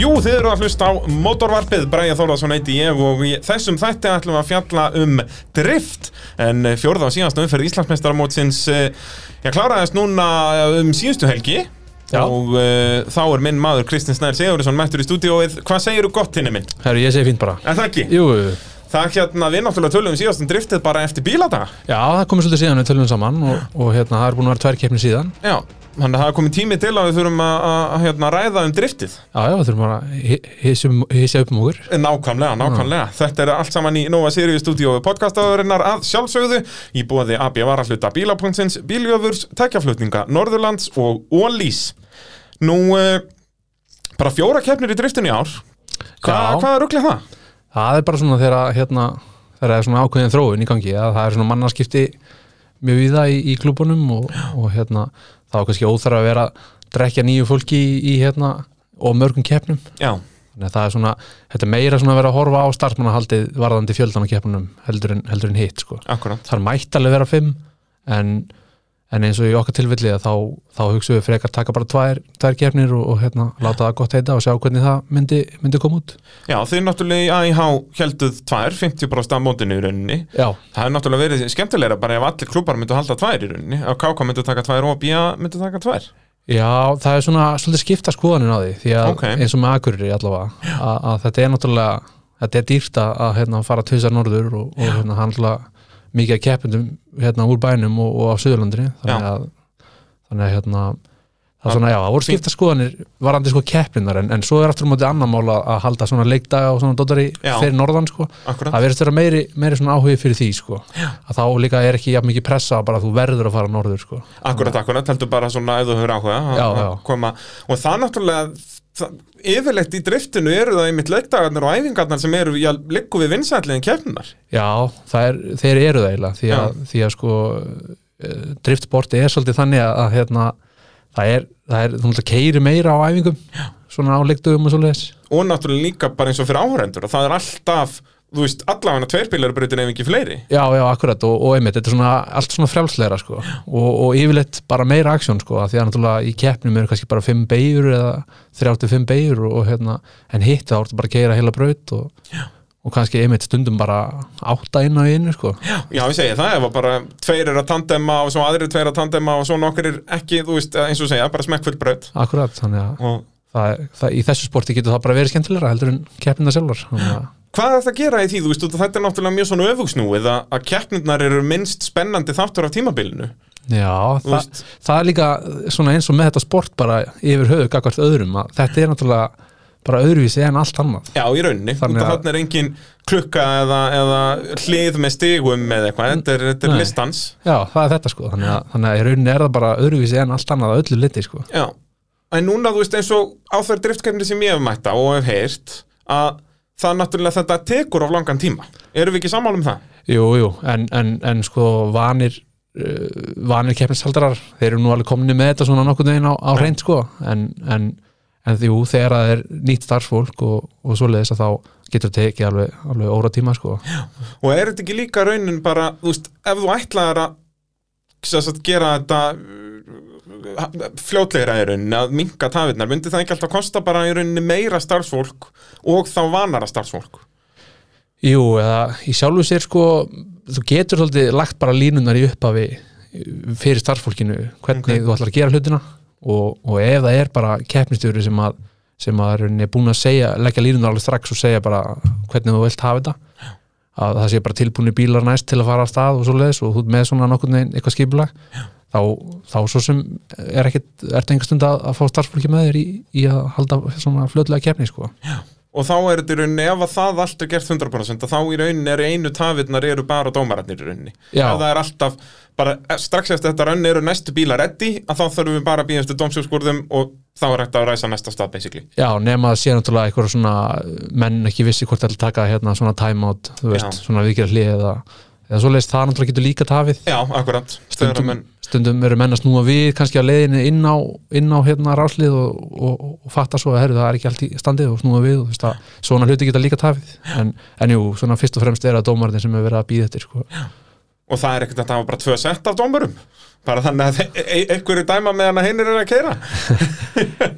Jú, þið eru að hlusta á motorvarpið, Bræja Þórðarsson heiti ég og í þessum þætti ætlum við að fjalla um drift en eh, fjórða og síðasta umferð Íslandsmeistaramótsins eh, ég kláraðist núna eh, um síðustu helgi Já. og uh, þá er minn maður Kristinn Snær Sigurðsson mættur í stúdíóið Hvað segirðu gott hinni minn? Herru, ég segi fínt bara Er það ekki? Jú, jú, jú. Það er hérna, við náttúrulega tölum síðast um driftið bara eftir bíladaga já, það komið svolítið síðan við tölum saman og, og hérna, það er búin að vera tvær keppni síðan Já, þannig að það er komið tími til að við þurfum að, að, að hérna, ræða um driftið Já, já, við þurfum bara að hi- hysja um- hysja upp um okkur Eh, Nákvæmlega, nákvæmlega. Þetta er allt saman í Nova Sirius stúdíói podcastaðurinnar að sjálfsögðu í bóði AB varahluta bíla.sins, bíljöfurs, tekjaflutninga Norðurlands og Ólís. Nú, uh, bara fjóra keppnir í driftinu í ár. Hva, Já. hvað er rugglega það? Það er bara svona þegar að, hérna, þegar það er svona ákveðin þróun í gangi að það er svona mannaskipti mjög víða í, í klubunum og, og hérna, þá er kannski óþarf að vera að drekja nýju fólki í, í hérna, og mörgum keppnum Já, Þannig að það er svona, þetta er meira svona að vera að horfa á startmannahaldið varðandi fjöldan á keppnunum heldur en, heldur en hitt sko. akkurat. Það er mætt alveg vera fimm en, en eins og í okkar tilfelli að þá, þá hugsaum við frekar taka bara tvær, tvær keppnir og, og hérna, láta það gott heita og sjá hvernig það myndi, myndi koma út. Já, þið náttúrulega í AIH helduð tvær, 50% af mótinu í rauninni. Já, Það er náttúrulega verið skemmtilegra bara ef allir klúpar myndu halda tvær í rauninni. Ef KK myndu taka tvær og BIA myndu taka tvær. Já, það er svona svolítið skipta skoðanin á því því að Ok. eins og með Akureyri allavega að, að þetta er náttúrulega, þetta er dýrt að að, hérna, fara tvisar norður og, og hérna, handla mikið að keppendum hérna, úr bænum og, og á Suðurlandri þannig að, þannig að hérna, það er svona, já, það voru skipta skoðanir varandi sko keppinnar en, en svo er aftur á móti annar mál að, að halda svona leikdaga og svona dótari Já. fyrir norðan sko Akkurat. það verðist vera meiri, meiri svona áhugi fyrir því sko að þá líka er ekki jafn mikið pressa bara að þú verður að fara norður sko Akkurat, akkurat, heldur bara svona ef þú hefur áhuga að- Já, að já. koma og það náttúrulega það, yfirleitt í driftinu eru það einmitt leikdagarnar og æfingarnar sem eru, já, liggu við vinsætliðin keppnar Já, það er, þeir eru það eiginlega því að, því að sko eh, driftsporti er svolítið þannig að, að hérna, það er, það er þú náttúrulega keiri meira á æfingum Já. svona áleiktum og svoleiðis og náttúrulega líka bara eins og fyrir áhörendur og það er alltaf, þú veist, allavega tveirbilar breytin ef ekki fleiri Já, já, akkurat og, og einmitt, þetta er svona allt svona frjálsleira sko og, og yfirleitt bara meira aksjón sko af því að náttúrulega í keppnum eru kannski bara 5 beigur eða 35 beigur og, og hérna, en hitt þá ertu bara að keira heila braut og, og kannski einmitt stundum bara átta inn á einu sko Já, ég segi það, ef að bara tveir eru að tandema og svo aðrir tveir að tandema og svo nokkur er ekki, þú veist, eins og segja, bara smekkfull braut Akkurat, þannig að og það, það, í þessu sporti getur það bara verið skemmtilegra heldur en keppnina sjálfar þannig að- Hvað er það að gera í því, þú veist, út af þetta er náttúrulega mjög svona öfugsnúið að, að keppnirnar eru minnst spennandi þáttur af tímabilinu Já, Þú það, veist. það er líka svona eins og með þetta sport bara yfir höfu gagvart öðrum að þetta er náttúrulega bara öðruvísi en allt annað Já, í rauninni, Þannig þannig að að- þarna er engin klukka eða, eða hlið með stigum eða eitthvað, þetta er, þetta er Nei. listans Já, það er þetta sko, þannig að, þannig að í rauninni er það bara öðruvísi en allt annað að öllu liti sko Já, en núna þú veist eins og á þær driftkeppnir sem ég hef mætta og hef heyrt að það náttúrulega þetta tekur of langan tíma Erum við ekki sammála um það? Jú, jú, en, en, en sko vanir uh, vanir keppnishaldarar þeir eru nú alveg komni með þetta svona nokkuð veginn á, á reynd sko en, en, en því, jú, þegar það er nýtt starfsfólk og, og svoleiðis að þá getur þetta ekki alveg, alveg óra tíma sko Og er þetta ekki líka raunin bara, þú veist, ef þú ætlaðir að sem sagt, gera þetta uh, fljótlegra í rauninni að minka tafirnar, myndi það ekki alltaf kosta bara í rauninni meira starfsfólk og þá vanara starfsfólk Jú, eða í sjálfu sér sko þú getur svolítið lagt bara línunar í upphafi fyrir starfsfólkinu hvernig Ok. þú ætlar að gera hlutina og, og ef það er bara keppnistjóri sem að sem að er rauninni búin að segja, leggja línunar alveg strax og segja bara hvernig þú vilt hafa þetta að það sé bara tilbúinir bílar næst til að fara af stað og svoleiðis og þú ert með svona nokkurn veginn eitthvað skipulag þá, þá svo sem er ekkit ertu einhver stund að, að fá starfsfólki með þér í, í að halda svona fljótlega keppni sko. og þá er þetta í rauninni, ef að það allt er gert 100% að þá í rauninni er einu tafirnar eru bara dómararnir í rauninni ef Já. það er alltaf, bara eh, strax eftir þetta raun eru næstu bíla reddi, að þá þurfum við bara að býja eftir dómsjóðskurðum og þá er þetta að ræsa næsta stað basically. Já, nema að sé náttúrulega eitthvað svona menn ekki vissi hvort það er að taka hérna svona timeout, þú veist, Já. svona vikir að hlið eða, eða svo leist það náttúrulega getur líka tafið Já, akkurat Stundum... stundum, menn, stundum eru menn að snúa við kannski á leiðinu inn á, inn á hérna ráslið og, og, og fatta svo að herru, það er ekki allt í standið og snúa við og þú veist að svona hluti geta líka tafið en, en jú, svona fyrst og fremst er að dómarinn sem er verið að býða eftir sko. og það er ekkert að hafa bara tvö sett af dómurum bara þannig að e- e- einhverju dæma meðan að heinir eru að keira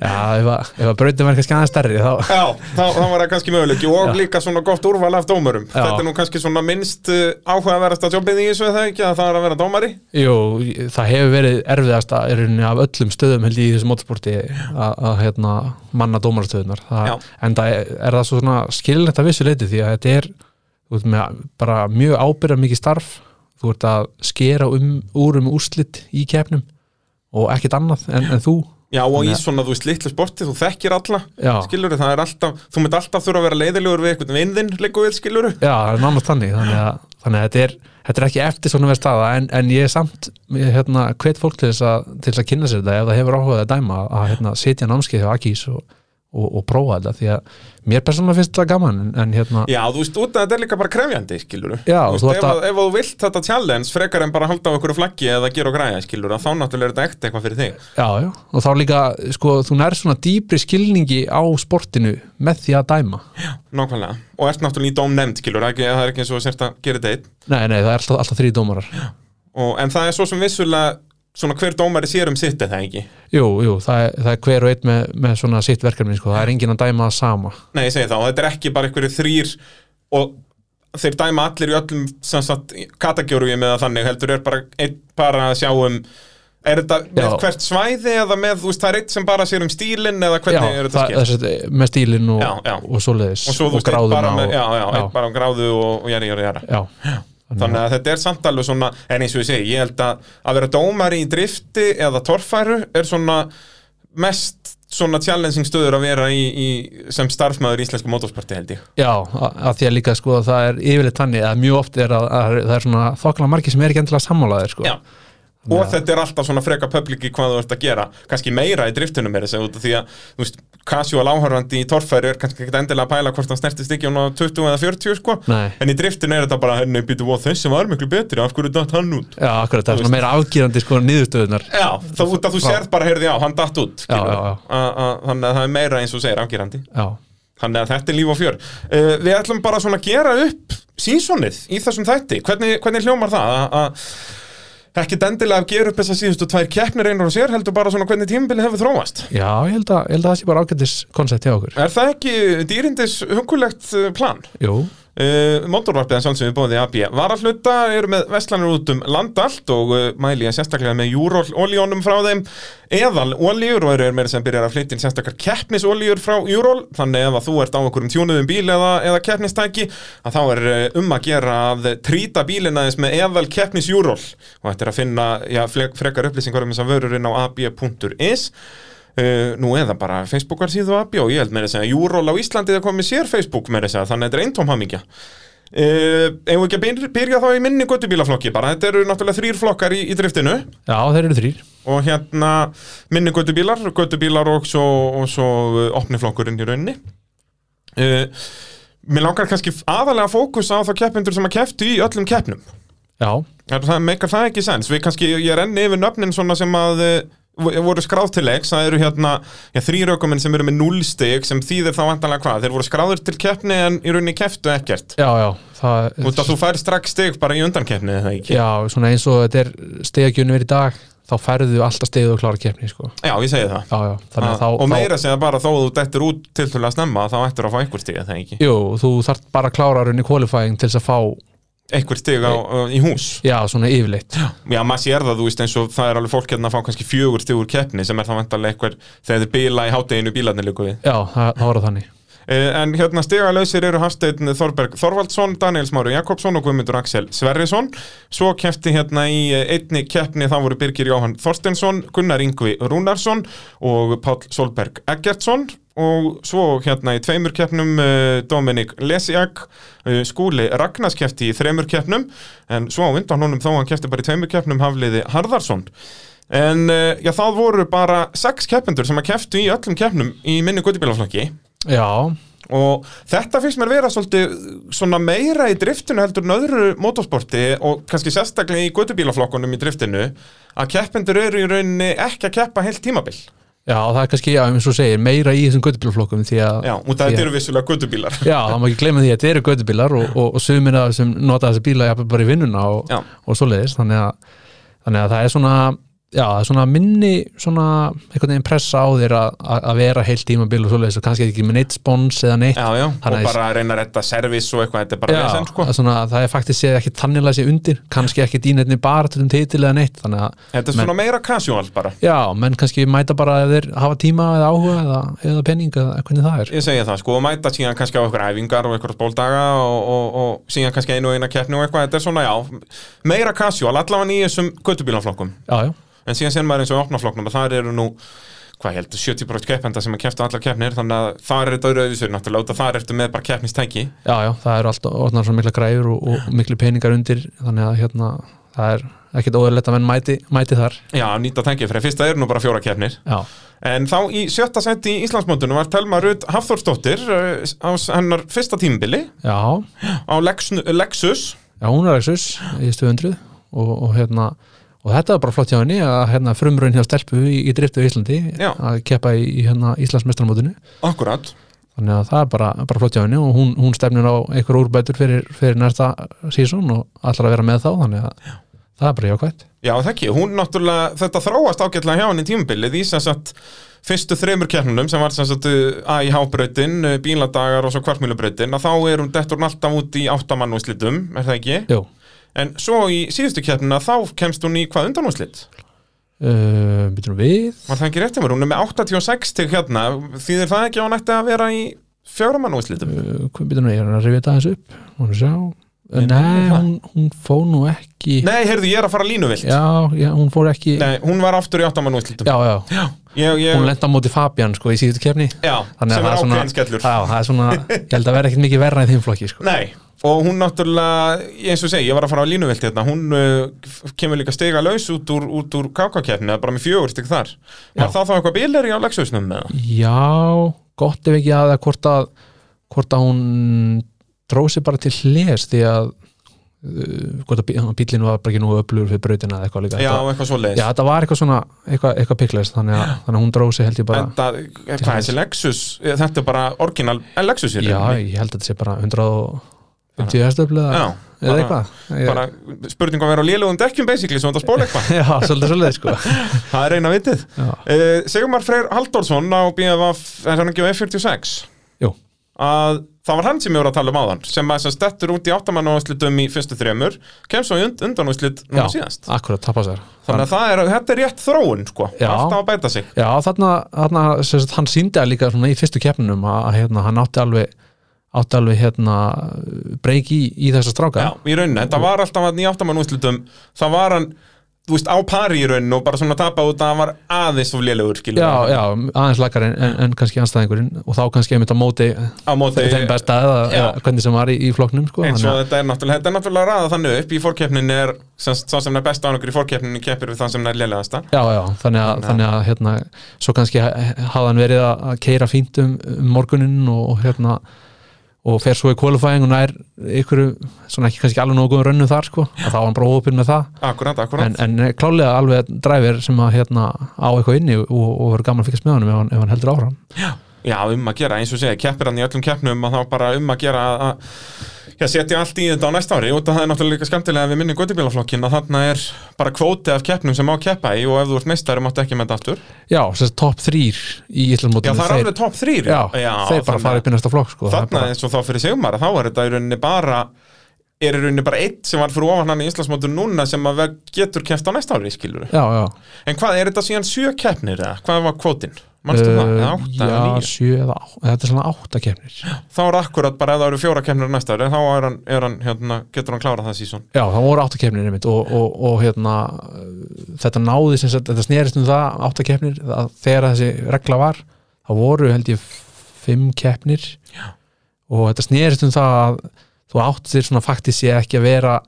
Já, ef að, ef að brautin var kannski aðeins stærri þá, Já, þá, þá var það kannski möguleiki og Já. líka svona gott úrval af dómurum Já. Þetta er nú kannski svona minnst uh, áhugaverðasta jobbið í þessu er það ekki að það er að vera dómari jú, það hefur verið erfiðasta í rauninni af öllum stöðum held ég í þessu mótorsporti að að, hérna, manna dómarastöðunar það, Já. en það er, er það svo svona skililegt að vissu leiti því að þetta er þú veit, með, bara mjög ábyrða mikið starf þú ert að skera um, úr um úrslit í kefnum og ekkert annað en, en þú Já, og í Nei. svona, þú veist, litlu sporti, þú þekkir alla Já, Skilurðu, það er alltaf, þú mynd alltaf þurfa að vera leiðilegur við einhvern vinðinn, leikur við, skilurðu Já, það er nánast þannig þannig að, þannig að þetta, er, þetta er ekki eftir svona verð staða en, en ég er samt ég, hérna, hvet fólk til þess, að, til þess að kynna sér þetta ef það hefur áhugað að dæma að hérna, setja námskeið hjá Akís og, og, og prófa þetta því að mér persónulega finnst þetta gaman en, en hérna, Já, þú veist, út að þetta er líka bara krefjandi, skilur Já, veist, þú ef, ert að- að... ef þú vilt þetta challenge frekar en bara halda á einhverju flaggi eða gera og græja, skilur þá náttúrulega er þetta ekkert eitthvað fyrir þig já, já, og þá líka sko, þú nær svona dýpri skilningi á sportinu með því að dæma Nákvæmlega, og ert náttúrulega í dóm nefnd, skilur ekki, það er ekki eins og sért að gera þetta einn Nei, nei, það er alltaf, alltaf þrý dómarar og, En það er svo sem vissulega, svona hver dómari sér um sitt, er það ekki? Jú, jú, það er, það er hver og einn með, með svona sitt verkefni sko, það er enginn að dæma það sama Nei, ég segi þá, þetta er ekki bara einhverju þrýr og þeir dæma allir í öllum sem sagt kategórium eða þannig heldur er bara, einn bara að sjá um Er þetta með Já. hvert svæði eða með, þú veist, það er eitt sem bara sér um stílinn eða hvernig já, er þetta það, skipt? þess, að- með stílinn og, Já, já. og svoleiðis og svo þú veist eitt gráðuna bara með, já, já, og, eitt bara um gráðu og, og jæri, jæri, jæri já, já. þannig að þetta er samt alveg svona en eins og ég segi, ég held að að vera dómari í drifti eða torfæru er svona mest svona challenging stöður að vera í, í sem starfmaður í íslensku motorsporti held ég já, að að því að líka sko að það er yfirleitt þannig að mjög oft er að, að það er svona þokkala margir sem er ekki endilega sammálaðir sko. Já. og þetta er alltaf svona freka publiki hvað þú ert að gera, kannski meira í driftunum er þess að út af því að, þú veist, casual áhörfandi í torfæru er kannski ekkert endilega að pæla hvort hann snertist ekki á 20 eða 40 sko Nei. en í driftinu er þetta bara, henni, býtu, "Vá, þessi var miklu betri, af hverju datt hann út já, akkurat, það er svona meira afgýrandi sko niðurstöðunar Já, þá út að þú frá- sérð bara, heyrði já, hann datt út skilur. Já, já, já. A- a- Þannig að það er meira eins og þú segir afgerandi já, Þannig að þetta er líf og fjör uh, Við ætlum bara svona að gera upp sísonið í þessum þætti Hvernig, hvernig hljómar það? A, a, ekki dendilega að gera upp þess að síðustu tvær keppnir einar og sér heldur bara svona hvernig tímabili hefur þróast já, ég held að, ég held að það sé bara ágættis koncept hjá okkur Er það ekki dýrindis hungulegt eh, plan? Jú, Uh, Mótorvarpiðan sjálfsögum við bóðið AB Varafluta eru með vestlanir út um land allt og uh, mæli ég sérstaklega með júról olíónum frá þeim eðal olíur og eru meira sem byrjar að flytja inn sérstakar keppnisolíur frá júról þannig ef að þú ert á einhverjum tjúnuðum bíl eða, eða keppnistæki að þá er uh, um að gera að trýta bílina þess með eðal keppnis júról og þetta er að finna já, fle- frekar upplýsingar um þess að vörurinn á ab.is Uh, nú eða bara Facebookar síðu AB og ég held meira að segja Júról á Íslandi það komið sér Facebook meira að segja þannig að þetta er eintóm hamingja Uh, eigum við ekki að byr- byrja þá í minni göttubílaflokki bara, þetta eru náttúrulega þrýr flokkar í, í driftinu já, þeir eru þrýr og hérna minni göttubílar, göttubílar og svo, og svo uh, opni flokkurinn í rauninni uh, Mér langar kannski aðalega að fókusa á þá keppindur sem að kepptu í öllum keppnum Já, Er Það meikar það ekki sens, við kannski, ég renni yfir nöfnin svona sem að uh, vo- voru skráð til leiks, það eru hérna já, þrýrökuminn sem eru með núllstig sem þýðir þá vantanlega hvað, þeir voru skráður til keppni en í rauninni kepptu ekkert já, já það, Út að þú fær strax stig bara í undankeppni eða ekki? Já, svona eins og þetta er stegakjunum verið í dag þá færðu alltaf stegið og klára keppni sko. Já, ég segi það. Ah, Já, já, þannig að þá og þá- meira segja bara þó að þú dettur út til til að snemma þá ættir að fá einhver stig eða ekki? Jú, þú þarft bara að klára raunni qualifying til þess að fá, Einhver stig á, í hús. já, svona yfirleitt Já, maður sér það, þú veist, eins og það er alveg fólk hérna að fá kannski fjögur stig úr keppni sem er það vantarlega einhver þegar þið bila í hátteginu bílarnir líku við. Já, það, það var það þannig Eh, En hérna stigalausir eru Hafsteinn Þorberg Þorvaldsson, Daniel Smáru Jakobsson og Guðmundur Axel Sverrisson Svo kefti hérna í eh, einni keppni þá voru Birgir Jóhann Þorstensson Gunnar Yngvi Rúnarsson og Páll Solberg Eggertsson og svo hérna í tveimur keppnum eh, Dominik Lesiak eh, Skúli Ragnars kefti í þremur keppnum en svo á undan honum þó hann kefti bara í tveimur keppnum Hafliði Harðarsson En eh, já, það voru bara sex keppendur sem að keftu í öllum keppnum í minni guttibílaflokki Já, og þetta finnst mér vera svolítið svona meira í driftinu heldur en öðru motorsporti og kannski sérstaklega í gödubílaflokkunum í driftinu að keppendur eru í rauninni ekki að keppa heilt tímabil já, það er kannski, já, eins og þú segir, meira í þessum göttubílflokkum því að Já, út af því þetta að- eru vissulega gödubílar Já, það má ekki gleyma því að þetta eru göttubílar og, og, og sumir að sem nota þessi bíla jafnvel bara í vinnuna og, Já. og svoleiðis, þannig að þannig að það er svona já, það er svona minni svona einhvern veginn pressa á þér að- að að vera heilt tímabil og svoleiðis og kannski ekki með neitt spons eða neitt já, já, og Þannig að- bara að reyna að retta servis og eitthvað, þetta er bara Já, vesen, sko. að svona, það er faktisk séð ekki tannilega sér undir kannski ekki dýnetni bara til um titil eða neitt þannig að Þetta er menn- svona meira casual bara, já, menn kannski mæta bara ef þeir hafa tíma eða áhuga eða, eða pening eða hvernig það er ég segja það, sko, og mæta síðan kannski á eitthvað æfingar og eitthvað bóldaga og, og, og síðan kannski einu og eina keppni og eitthvað, þetta er svona, já, meira casual, allavega í þessum göttubílanflokkum, já, já, en síðan sér maður eins og í opnaflokknum og þar eru nú, hvað ég held, 70% keppenda sem að kefta allar keppnir, þannig að þar er þetta öðruvísur náttúrulega, út af þar ertu með bara keppnistæki, já, já, það eru alltaf orðnar svona mikla græður og, og miklu peningar undir þannig að hérna, það er ekkit óðurlegt að menn mæti, mæti þar já, nýta tæki, fyrir fyrst það eru nú bara fjóra keppnir, já, En þá í sjötta senti í Íslandsmóndunum var Telma Rut Hafþórsdóttir eh, á s- hennar fyrsta tímbili já, já, á Lexnu- Lexus hún er Lexus í stöðundruð og, og hérna og þetta er bara flott hjá henni að hérna, frumraun hjá stelpu í, í driftu í Íslandi Já. að keppa í, í hérna, Íslandsmestramótinu Akkurat þannig að það er bara, bara flott hjá henni og hún, hún stefnir á einhver úrbætur fyrir, fyrir næsta sísón og allar að vera með þá þannig að það er bara jákvæmt Já það ekki, hún náttúrulega, þetta þróast ágætlega hjá henni tímbilið í sem sagt fyrstu þremur keppnunum sem var sem sagt AIH-brautin, bíladagar og svo kvartmýlubrautin að þá er hún dettur hún alltaf út í áttamann úrslitum, er það ekki? Jú, En svo í síðustu keppnuna þá kemst hún í hvað undan úrslit? uh, býtum við Var það ekki rétt hjá mér? Hún er með 86 til hérna, þýðir það ekki að hún ætti að vera í fjóramann úrslitum? uh, hvað býtum við, ég er að rifja þetta aðeins upp hún sjá, Nei, uh, nei það- hún, hún fór nú ekki Nei, heyrðu, ég er að fara línuvilt já, já, hún fór ekki Nei, hún var aftur í áttamann úrslitum já, já, ég, ég, hún lenda á móti Fabian sko í síðustu kefni Já, sem er ákveðin skellur já, það er svona, ég held að vera ekkert mikið verra í þeim flokki sko. Nei, og hún náttúrulega eins og segi, ég var að fara á línuvilt hérna hún uh, f- kemur líka stiga laus út úr, út úr kákakeppni, bara með fjögur stig þar Já. Var það þá eitthvað bílir í á leggsausnum með það? Já, gott ef ekki að það hvort að, hvort að hún dróð sér bara til hlés því að uh, hvort að bí- bíllinn var bara ekki nú öflugur fyrir brautina eða eitthvað líka Já, þetta, eitthvað svo leiðis já, þetta var eitthvað svona, eitthvað, eitthvað piklist þannig að, þannig að hún dróð sér held ég bara Þetta, eh, hvað er þessi Lexus, eh, þetta er bara orginal en Lexus í Já, rauninni. ég held að þetta sé bara 150 hestöflu eða Já, eða bara- eitthvað Ég- bara spurning að vera á lélugum dekkjum basically, sem þetta spóla eitthvað Já, svolítið svolítið sko Það er eina vitið Já. uh, Sigmar Freyr Halldórsson á BFF, er hann ekki á F46? Jú, að það var hann sem ég voru að tala um áðan sem að sem stettur út í áttamannáðslitum í fyrstu þremur, kemst svo í und undanúslit já, núna síðast. akkurat, tappa sér Þannig að það er, þetta er rétt þróun, sko, Já. alltaf að bæta sig. Já, þarna, þarna sem sagt, hann síndi að líka svona í fyrstu keppnum að að, hérna, hann átti alveg átti alveg hérna breyki í, í þessa stráka Já, í rauninni, Mm. þetta var alltaf að í áttamannáðslitum, það var hann, þú veist, á pari í rauninni og bara svona tapa út að hann var aðeins of lélegur, skilur já, já, aðeins lakar en, en, en kannski anstæðingurinn og þá kannski einmitt á móti á móti. þeim besta eða, Já. eða hvernig sem var í, í flokknum sko, eins og þannig að- þetta er náttúrulega, þetta er náttúrulega ræða þannig upp í fórkeppnin er, sem, sá sem er besta ánugur í fórkeppnin keppir við þann sem er lélegasta Já, já, þannig að, þannig að hérna, svo kannski hafði hann verið að að keyra fínt um, um morguninn og, og hérna og fer svo í kvalifæðing og nær ykkur, svona ekki kannski alveg nógu um rönnum þar sko, að þá var hann bara óopinn með það Akkurat, akkurat. en, en klálega alveg dræfir sem að hérna á eitthvað inni og, og verður gaman að fylgjast með honum ef hann, ef hann heldur áfram Já, um að gera, eins og segja, keppir hann í öllum keppnum og þá bara um að gera að- að já, setja allt í þetta á næsta ári og það er náttúrulega líka skemmtilega að við minnum göttibílaflokkin að þarna er bara kvóti af keppnum sem má keppa í og ef þú ert meistari máttu ekki með þetta aftur Já, sem sagt topp þrýr í Já, Íslandmótinu það er alveg topp þrýr já, þeir bara fara upp í næsta flokk sko, það er Þarna bara, eins og þá fyrir sigumara, þá er þetta í rauninni bara er í rauninni bara eitt sem var fyrir ofan hann í Íslandsmótur núna sem að ver- getur keppt á næsta ári, skilur Já, já, En hvað, er þetta síðan sjö keppnir eða? Hvað var kvótin? Manstu það? Eða átta, Eh, já, eða níu? sjö eða á, þetta er svona átta kemnir Já, þá er akkurat bara ef það eru fjóra kemnir næsta ári þá er hann, er hann hérna, getur hann klárað það sísón það voru átta kemnir einmitt og, og, og hérna uh, þetta náði sem sagt, þetta snerist um það átta kemnir, að þegar þessi regla var þá voru held ég fimm keppnir Já. og þetta snerist um það að þú átt þér svona faktist ég ekki að vera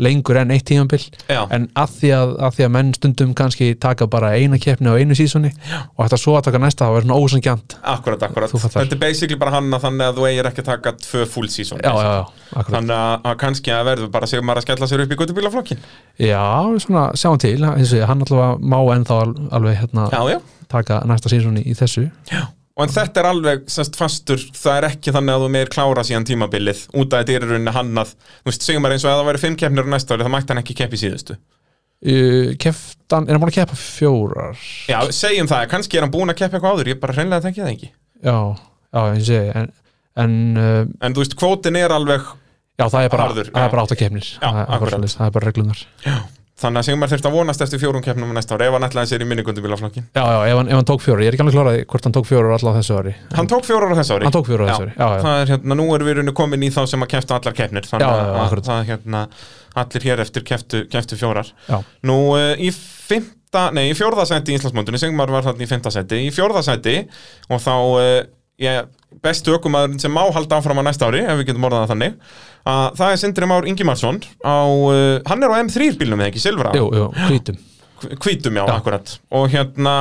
lengur enn eitt tímanbill Já, en að því að, að því að menn stundum kannski taka bara eina keppni á einu sísoni og þetta svo að taka næsta þá er svona ósangjant akkurat, akkurat Þú fattar. Þetta er basically bara hann að þannig að þú eigir ekki að taka tvö full sísón já, já, já, akkurat Þannig að, að kannski að verður bara segum maður að skella sér upp í guttubílaflokkin já, svona sjáum til, eins og ég, hann allavega má ennþá al- alveg hérna Já, já taka næsta sísoni í þessu Og en þetta er alveg semst fastur, það er ekki þannig að þú meir klára síðan tímabilið út af þetta er í rauninni hannað, þú veist, segjum maður eins og að það væri fimm keppnir á næsta ári, það mætti hann ekki keppi síðustu. uh, keftan, er hann búin að keppa fjórar Já, segjum það, kannski er hann búin að keppa eitthvað áður, ég bara hreinlega þekki það ekki já, já, eins og ég segi, en, en uh, En þú veist, kvótin er alveg já, það er bara, Harður, það já. er bara átta keppnir Já, það, er bara akkurat. svoleiðis, það er bara reglunar já, Þannig að Sigmar þurft að vonast eftir fjórum keppnum á næsta ára ef hann ætlaði sér í minningundubílaflokkin já, ef hann, ef hann tók fjórar, ég er ekki alveg klárað hvort hann tók fjórar allavega á þessu ári Hann tók fjórar á þessu ári Mm. hann tók fjórar á þessu ári, já, já, Það er hérna, nú erum við í rauninni komin í þá sem að keftu allar keppnir Þannig Já, já, já, að akkurat. það er hérna, allir hér eftir keftu, keftu fjórar já, Nú, uh, í fymta, nei, í fjórða sæti í Íslandsmóndunni, Sigmar var þarna í fymta sæti Í fjórða sæti og þá uh, ég, bestu ökumæðurinn sem má halda áfram á næsta ári, ef við getum orðað það þannig að það er Sindri Már Ingimarsson á, uh, hann er á M3 bílnum eða ekki, Silvra jú, jú, hvítum hvítum já, akkurat og hérna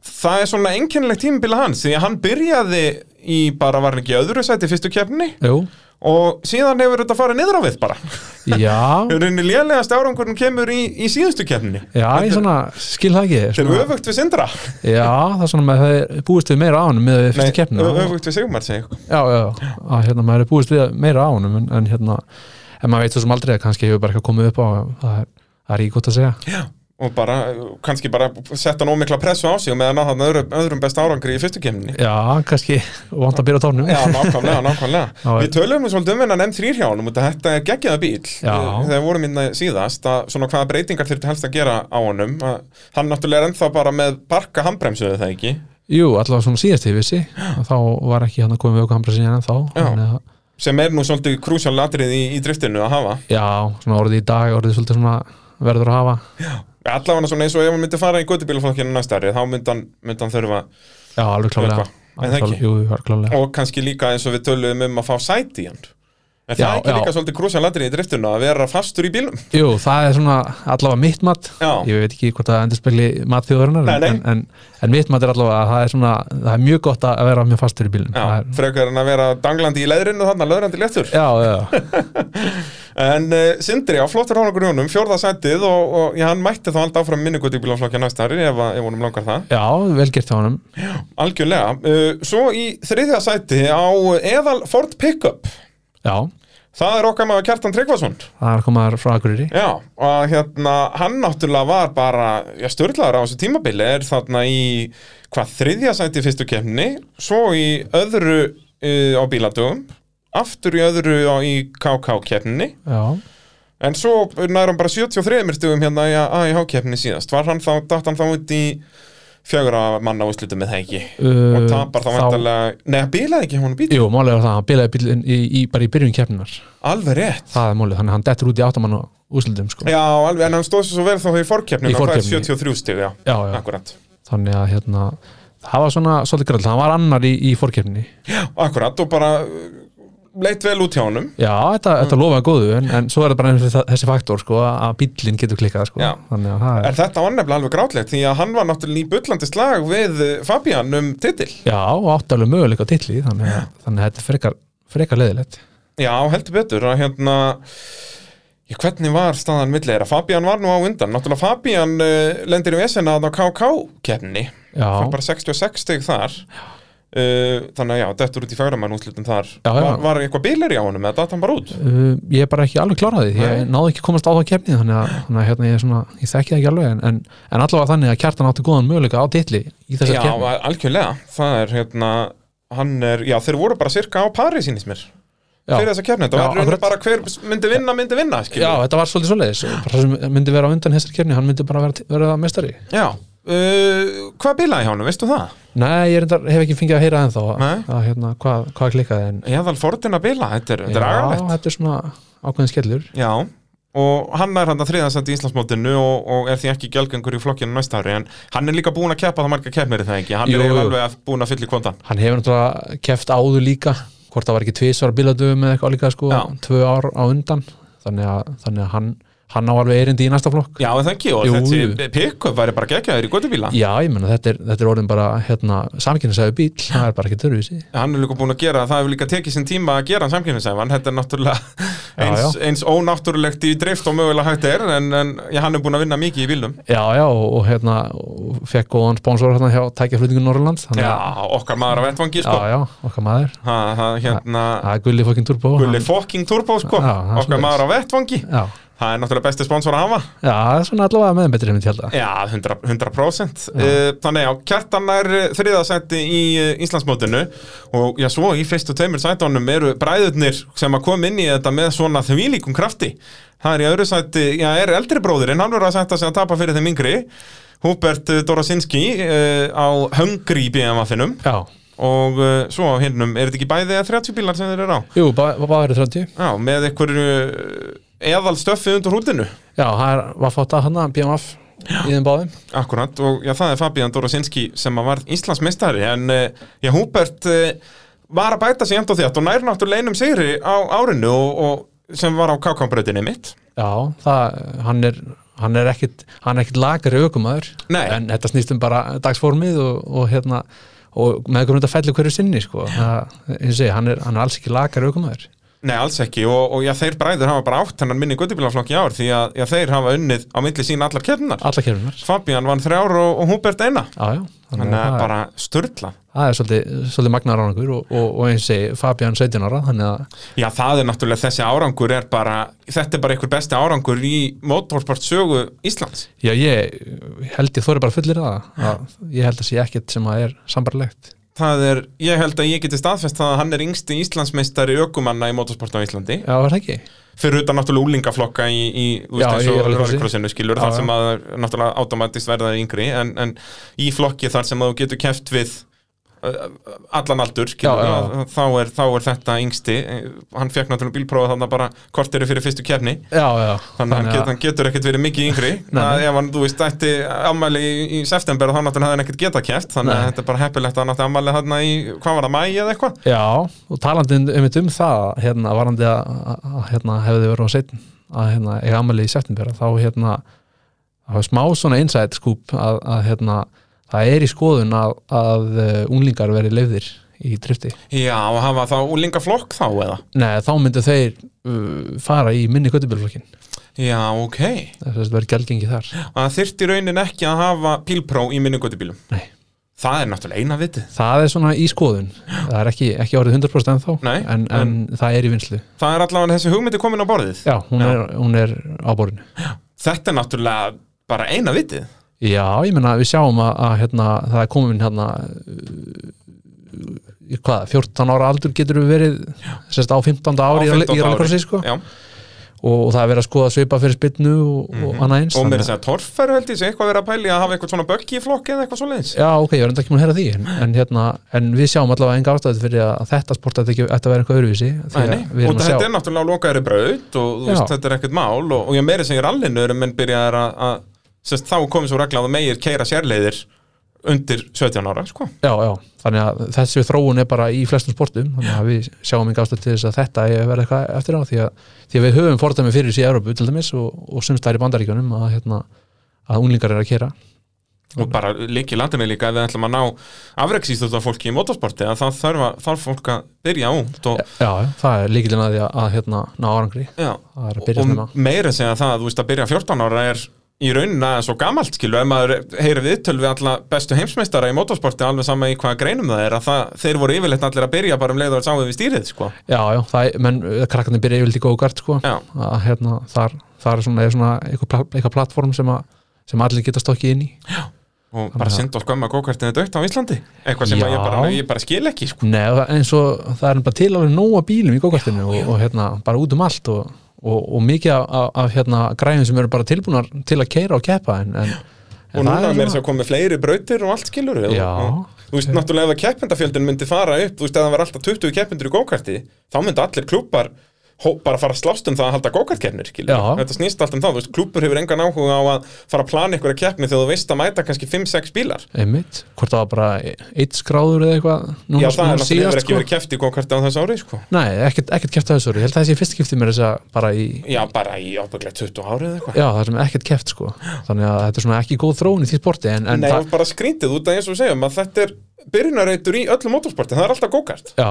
það er svona einkennilegt tímabila hans því að hann byrjaði í bara var hann ekki í öðru sæti í fyrstu keppni jú, og síðan hefur þetta farið niður á við bara já, rauninni lélegast árangurinn kemur í, í síðustu keppni já, ég svona skil það ekki Þeir eru svona, öfugt við Sindra já, það er svona með það er búist við meira á hann með fyrstu keppnina ö- öfugt við Sigmar segi ég. já, já, já, að hérna maður er búist við meira á honum en, en hérna, en maður veit svo sem aldrei að kannski hefur bara eitthvað komið upp á það er, það er ekki gott að segja og bara, kannski bara sett hann ómikla pressu á sig og meðan á hann öðrum, öðrum besta árangri í fyrstu keppni já, kannski vant að byrja á tónum Já, nákvæmlega, nákvæmlega Já, Við tölum nú svolítið um hennan M3 hjánum og þetta er geggjaða bíl Já. þegar við vorum minna síðast að svona hvaða breytingar þurfti helst að gera á honum að hann náttúrulega er ennþá bara með parka handbremsuðu það ekki jú, allavega svona síðast ég vissi að þá var ekki hann að koma við okkur hambra sinni en þá Já. að, sem er nú svolítið krúsjál atrið í, í driftinu að hafa já, svona orðið í dag orðið svolítið svona verður að hafa allavega svona eins og ef hann myndi fara í göttubílaflokkinu næsta ári þá myndi hann, myndi hann þurfa já, alveg klálega Eitthvað. En það ekki? jú, alveg klálega og kannski líka eins og við tölum um að fá sæti í hann Er það Já, ekki já. líka svolítið krúsjál atrið í driftinu að vera fastur í bílum? jú, það er svona allavega mitt mat Já. ég veit ekki hvort það endurspegli mat þjóðarinnar Nei, nei. en, en, en mitt mat er allavega að það er svona það er mjög gott að vera mjög fastur í bílum það Já, er, frekar en að vera danglandi í leðrinu þarna, löðrandi léttur já, já, En uh, Sindri á flottur hánakur hjónum, fjórða sætið og, og já, hann mætti þá alltaf áfram minningut í bílaflokkja næsta ári ef, að- ef honum langar það. já, vel gert á honum Algjörlega. Uh, svo í þriðja sæti á eðal Ford Pickup. Já, Það er okkar maður Kjartan Tryggvason. það er komaður frá Akureyri Já, og hérna, hann náttúrulega var bara, já, störlaður á þessu tímabili, er þarna í hvað þriðja sæti í fyrstu kemni, svo í öðru uh, á bíladögum, aftur í öðru á, í KK kemni. Já, En svo nær hann bara 73 stugum hérna í AIH-keppni síðast. Var hann þá, datt hann þá út í fjögra manna úrslutum með það ekki? Uh, og tapar þá þá- vantarlega... Nei, hann bilaði ekki, hún bíl. jú, málið var það, hann bilaði bílinn í, í, bara í byrjun keppninar Alveg rétt. Það er málið, þannig að hann dettur út í áttamann og úslutum sko. Já, alveg, en hann stóð sér svo vel þá í forkeppni Í og fær forkeppni. 73 stug, já. Já, já. Akkurat. Þannig að hérna, það var svona svolítið græll, hann var annar í, í fórkeppni Já, akkurat, og bara uh, leit vel út hjá honum. Já, þetta, Mm. þetta lofaði góðu en, en svo er það bara einhver þa- þessi faktor sko, að bíllinn getur klikkað sko. Já. Þannig að það er En þetta var nefnilega alveg grátlegt því að hann var náttúrulega í bullandi slag við eh, Fabian um titil. Já, og átti alveg möguleika á titli þannig að, þannig að þetta er frekar, frekar leðilegt Já, heldur betur að hérna ég, hvernig var staðan milli þeirra? Fabian var nú á undan náttúrulega Fabian uh, lendir í vesena að á KK-keppni Já, bara 66 steg þar uh, þannig að já, dettur út í fægramann útslutum þar Já, já. Var, var eitthvað bílir í á honum eða datt hann bara út? Uh, ég er bara ekki alveg kláraði því ég Nei. náði ekki að komast á þá kefnið þannig að, þannig að hérna, ég, er svona, ég þekki það ekki alveg en, en, en allavega þannig að kjartan átti góðan möguleika á titli í þessar Já, kefni algjörlega það er hérna hann er, já, þeir voru bara cirka á pari sínist mér fyrir já, þessa keppni, Já, það var raunin akkurat. bara hver myndi vinna, myndi vinna skilur. já, þetta var svolítið svoleiðis bara það sem myndi vera á undan þessar kefni hann myndi bara vera, vera mestari já. Uh, hvað bílaði hjá honum, veistu það? Nei, ég reyndar, hef ekki fengið að heyra ennþá Nei. að, hérna, hvað, hvað klikkaði en, Eðal Fordin að bila, þetta er, þetta er agalegt já, þetta er svona ákveðin skellur Já, og hann er hann að þriðansandi í Íslandsmótinu og, og er því ekki gjálgengur í flokkinu næsta ári en hann er líka búin að keppa það marga keppnir er það ekki, hann Jú, er jú. eiginlega alveg að búin að fylla í kvontan hann hefur náttúrulega keft áður líka hvort það var ekki tvisvar bíladöfum eða eitthvað líka sko, Já. tvö ár á undan þannig að, þannig að hann, hann á alveg erindi í næsta flokk Já, en það ekki, og Jú, jú. þessi pick-up væri bara geggjaður í göttubíla Já, ég menna, þetta er, þetta er orðin bara hérna, samkynnsæðu bíl, það er bara ekki dörfísi Hann er líka búin að gera, það hefur líka tekið sinn tíma að gera hann samkynnisæfan, þetta er náttúrulega Já, eins, eins ónáttúrulegt í drift og mögulega hægt er, en, en já, hann er búin að vinna mikið í bílum Já, já, og, og hérna og fekk góðan sponsor hérna hjá tækjaflutningu Norrlands þannig Já, að- okkar maður á vettvangi, sko já, já, okkar maður ha, ha, Hérna, Það er Ah, Gulli fokkin turbo Gulli hann- fokking turbo, sko Já, það er Okkar svoleiðis. maður á vettvangi Já, það er náttúrulega besti sponsor að hafa Já, það er svona allavega með betri hemmið tjálta Já, 100%, 100%. Já. Eh, Þannig já, Kjartan er þriðasætti í eh, Íslandsmótinu og já, svo í fyrstu tveimur sætunum eru bræðurnir sem að koma inn í þetta með svona þvílíkum krafti Það er í öðru sætti, já, er eldri bróðurinn, hann verður að sætta sig að tapa fyrir þeim yngri Húbert Dorasinski uh, á Hungry BMF-inum Já, og uh, svo á hinnum, er þetta ekki bæði eða 30 bílar sem þeir eru á? jú, báður bá, bá eru 30 Já, með einhverju eðal stöffi undir hútinu Já, það er, var fótt að hana, BMF í þeim báðum Akkurat og já, það er Fabian Dorosinski sem að varð Íslandsmeistari en eh, já, Húbert eh, var að bæta sig jæmt á þétt og nær náttúrulega einum sigri á árinu og, og sem var á kákambröðinni mitt Já, það, hann er hann er ekkit, hann er ekkit lagri aukumæður Nei. en þetta snýst um bara dagsformið og, og hérna og með hvernig þetta fellur hverju sinni sko. það, ég segi, hann, er, hann er alls ekki lagri aukumæður Nei, alls ekki og, og já, þeir bræður hafa bara átt hennan minni guttubílaflokk í ár því að já, þeir hafa unnið á milli sín allar keppnar alla kjörfinar Fabian vann þrjár og, og Húbert eina já, já, þannig Þannig að að það, bara sturla það er svolítið, svolítið magnar árangur og, og, og eins segi Fabian 17 ára þannig að, Já, það er náttúrulega þessi árangur er bara, þetta er bara einhver besti árangur í motorsport sögu Íslands já ég held ég þóri bara fullir það að ég held að sé ekkit sem að er sambarlegt það er, ég held að ég geti staðfest það að hann er yngsti Íslandsmeistari ökumanna í motorsport á Íslandi já, var það ekki? fyrir utan náttúrulega úlingaflokka í, í þú Já, veist eins í og rallycrossi. rallycrossinu skilur Já, þar já. sem að náttúrulega automatist verða yngri en, en í flokki þar sem að þú getur keft við uh, allan aldur skilur Já, já. að- Þá, er, þá er þetta yngsti Eh, hann fekk náttúrulega bílprófa þarna bara korteri fyrir fyrstu kefni já, já Þannig að hann getur, hann getur ekkert verið mikið yngri að ef hann, þú veist, ætti afmæli í, í september þá náttúrulega hefði hann ekkert getað kæft þannig að Nei. þetta er bara heppilegt að hann átti afmæli hann í, hvað var það, mæi eða eitthvað? Já, og talandi um, um, um það hérna, varandi að, að- að hérna, hefði verið á setn að hérna, ég ammæli í september þá hérna það var smá svona insight skúp að, að hérna, það er í skoðun að, að eh, unglingar verið leifðir í drifti. Já, og hafa þá úlinga flokk þá eða? Nei, þá myndu þeir uh, fara í minni göttubjörflokkin Já, ok þess að verið gælgengi þar. Það þyrfti í raunin ekki að hafa pílpró í minningotibílum Nei, Það er náttúrulega eina vitið það er svona í skoðun það er ekki, ekki orðið 100% ennþá Nei, en, en, það er í vinslu. Það er allavega þessi hugmyndi komin á borðið Já, hún, Er, hún er á borðinu. Þetta er náttúrulega bara eina vitið Já, ég meina við sjáum að, að hérna, það er komin hérna uh, hvað, 14 ára aldur getur við verið sérst, á 15 ári Á í 15. rallycrossi sko. Já, og, og það er verið að skoða svipa fyrir spynnu og, og annað eins Mhm. og mér þannig er að torfæru held ég sé eitthvað verið að pæli að hafa eitthvað svona böggi í flokki eða eitthvað svoleiðis að- Já, ok, ég var enda ekki múin að heyra því en, en, hérna, en við sjáum allavega enga ástæði fyrir að þetta sport ætti ekki ætti að vera eitthvað öðruvísi því Nei, að nei, og við erum að þetta er sjá náttúrulega lokaðri braut og þú veist, Já. þetta er ekkert mál og, og ég meiri sem ég er allinu er að menn byrjaðar að, að sérst, þá komið svo regla að þú meir keira sérleiðir undir 17 ára sko. Já, já, þannig að þessi þróun er bara í flestum sportum þannig að við sjáum enga ástæði til þess að þetta eigi að vera eitthvað eftir á því að, því að við höfum fordæmi fyrir þessi í Európu til dæmis og, og sumst þær í bandaríkjunum að, hérna, að unglingar eru að kera og bara líki landinu líka ef við ætlum að ná afreksýstöða fólki í motorsporti að það þarf, að, þarf fólk að byrja út og, Já, já, það er líkilinn að því að, að hérna, ná árangri já, það er að og, byrja snemma og meira segja það að þú veist að byrja 14 ára er í raunin aðeins svo gamalt skilu ef maður heyri viðtöl við alla bestu heimsmeistara í motorsporti alveg sama í hvaða greinum það er að það, þeir voru yfirleitt allir að byrja bara um leið og sáðu við stýrið sko. Já, já, það er, menn, eh, krakkarnir byrja yfirleitt í góðgart sko, Já. að hérna, þar, þar er svona, er svona eitthvað, pla- eitthvað platform sem, að, sem allir geta stokkið inn í og bara synd og skömma gókartinu dögt á Íslandi eitthvað sem Já. að ég, bara, ég bara skil ekki sko. Nei, og það- eins og það er bara til alveg nóga bílum í gókartinu og, og hérna, bara út um allt og, og, og mikið af- af, af hérna, græðum sem eru bara tilbúnar til að keira og keppa en, og en, en það núna er er mér svona- sem komið fleiri brautir og allt skilur við Já. og, og, þú veist, náttúrulega ef að keppendafjöldin myndi fara upp þú veist, ef það var alltaf 20 keppendur í gókarti þá myndi allir klúpar hó- bara fara að slást um það að halda gókartkeppnir skilur við. Já. þetta snýst allt um það, þú veist, klúpur hefur engan áhuga á að fara að plana ykkur að keppni þegar þú veist að mæta kannski 5-6 bílar einmitt, hvort það var bara eitt skráður eða eitthvað núna, Já, það núna er náttúrulega hefur ekki sko. verið keppt í gókarti á þessu ári sko. Nei, ekkert, ekkert keppt að þessu orði, ég held að þessi fyrst skipti mér þess að bara í Já, bara í ábygglega 20 árið eitthvað Já, það sem ekkert keft sko Þannig að þetta er svona ekki góð þróun í því sporti en, en Nei, það, og bara skrýntið út að eins og við segjum að þetta er byrjunareitur í öllum motorsporti, það er alltaf go-kart já,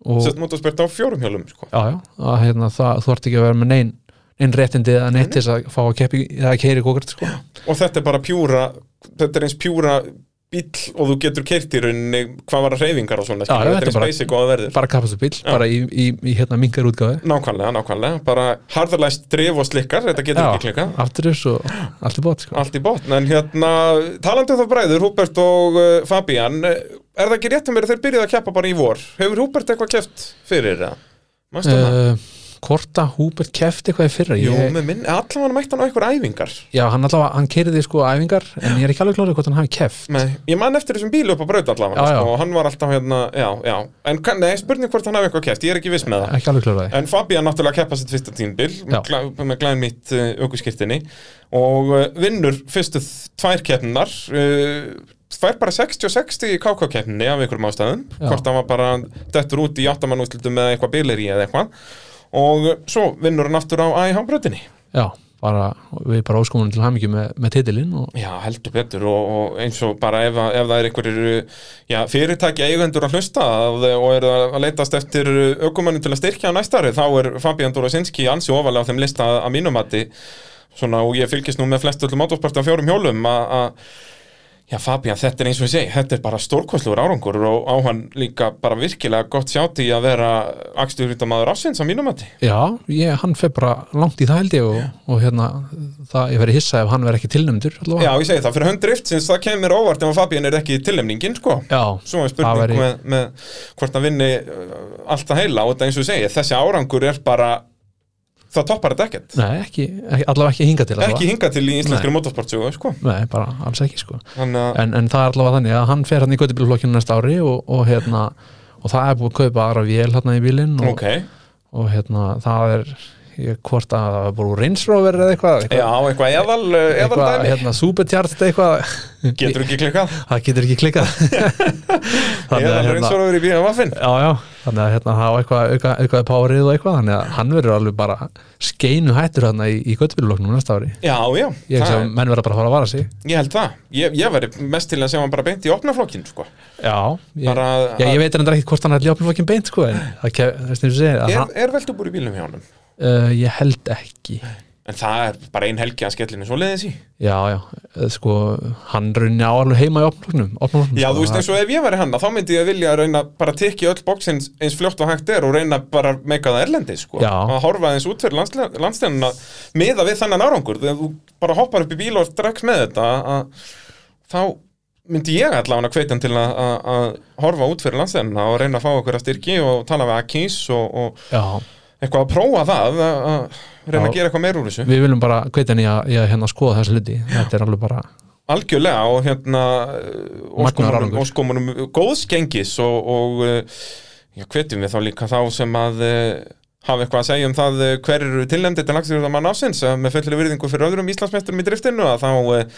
og, Sett motorsport á fjórum hjólum, sko já, já, að, hérna, það, þú ert ekki að vera með neinn neinn réttindi eða neitt til þess að fá að keppi eða keiri gókart sko Og þetta er bara pjúra, þetta er eins pjúra bíll og þú getur keirt í rauninni hvað var að hreyfingar og svona Já, skilur, já, þetta er þetta eins bara- basic og það verður bara kapastubíl, bara í, í, í hérna mingar útgáfi nákvæmlega, nákvæmlega, bara harðarlæst drif og slikkar, þetta getur ekki klikkað aftur þess og allt er bótt sko. allt í botn, en hérna talandi um þá bræður, Húbert og uh, Fabian eh, er það ekki rétt um mér að þeir byrjuðu að keppa bara í vor, hefur Húbert eitthvað keft fyrir það? Manstu það? uh, Korta Húbert kefti eitthvað í fyrra Jú, ég, með minn, allavega mætti hann á einhver æfingar Já, hann allavega, hann keiriði sko æfingar en ég er ekki alveg klárið hvort hann hafi keft Nei, ég man eftir þessum bílu upp á braut allavega Já, já. og hann var alltaf hérna, já, já en kann- nei, spurning hvort hann hafi eitthvað keft, ég er ekki viss með það ekki alveg klárið En Fabian náttúrulega keppa sitt fyrsta tímbil Já. með, glæ, með glæðin mitt aukuskirtinni og uh, vinnur fyrstu þ- tvær keppnar uh, fær bara 60-60 í KK-keppninni af einhverjum ástæðum Já. hvort hann var bara dettur út í áttamannúslutum með eitthvað bilir í eða eitthvað og uh, svo vinnur hann aftur á AIH-brötinni Já, bara, við bara óskomunum til hamingju með, með titilinn og Já, heldur betur og, og eins og bara ef, að- ef það er einhverjir uh, já, fyrirtæki eigendur að hlusta að, og eru að að leitast eftir aukumönnum til að styrkja á næstari þá er Fabian Dorosinski ansi ofalega á þeim lista að að mínum mati svona og ég fylgist nú með flest öllum átósparti á fjórum hjólum að að- já Fabian þetta er eins og ég segi þetta er bara stórkostlugur árangur og á hann líka bara virkilega gott sjátt í að vera axturhýttamaður ásins á mínum mati Já, ég, hann fer bara langt í það held ég og, og hérna, það, ég verið hissa ef hann verið ekki tilnæmdur Já allavega. ég segi það fyrir hönd drift sinns það kemur óvart ef að Fabian er ekki tilnefningin sko Já, Svo er spurning Það væri- með, með hvort hann vinni uh, allt að heila og þetta eins og ég segi, þessi árangur er bara það toppar þetta ekkert nei, ekki, ekki allavega ekki hinga til allavega. ekki hinga til í íslenskri motorsportsjóðu sko. uh, Nei, bara alls ekki sko þannig að en, en það er allavega þannig að hann fer hann í göttubílflokkinu næsta ári og, og hérna og það er búið að kaupa aðra vél hérna í bílinn og, ok, og hérna það er ég, hvort að það er búið Range Rover eða eitthvað já, eitthvað eðal, uh, eðal eitthvað dæmi, hérna Supertjart eitthvað getur ekki klikkað það getur ekki klikkað þannig eðal að eins hérna og verið í bíða vaffin Já, já, þannig að hérna hafa eitthvað, eitthvað, eitthvað párið og eitthvað, þannig að hann verður alveg bara skeinu hættur hann í, í göttubíluloknum næsta ári. já, já, Ég held það, að menn verða bara að fara að vara sig. ég held það ég, ég verið mest til að sjá hann bara beint í opnaflokkin sko. Já, ég, bara að, Já, ég veit reyndar ekkert hvort hann er ljófnflokkin beint sko, en það kef, þess að segja að er, hann, er veltubúr í bílum hjá honum uh, ég held ekki en það er bara ein helgi að skellinu svo leiðis í Já, já, eh, sko hann runni á alveg heima í opnflokknum opnflokknum, Já, sko, þú veist eins og ef ég væri hann þá myndi ég vilja reyna bara tekja öll bóksins eins fljótt og hægt er og reyna bara að meika það erlendi, sko, Já. að horfa eins út fyrir landstænuna, miða við þannan árangur þegar þú bara hoppar upp í bíl og strax með þetta að, þá myndi ég allavega hveitan til að, að, að horfa út fyrir landstænuna og reyna að fá okkur að styrki og tala við Akis og, og Já, eitthvað að prófa það að, að reyna Já. að gera eitthvað meir úr þessu við viljum bara hvetja hann í að, í að hérna skoða þessu hluti, þetta er alveg bara algjörlega og hérna Magnaður óskomunum, árangur. óskomunum góðskengis og, og eh, já, hvetjum við þá líka þá sem að eh, hafa eitthvað að segja um það eh, hver eru tilnæmdi til lagsirjóða mann ásins eh, með fullri virðingu fyrir öðrum Íslandsmeisturum í driftinu að þá eh,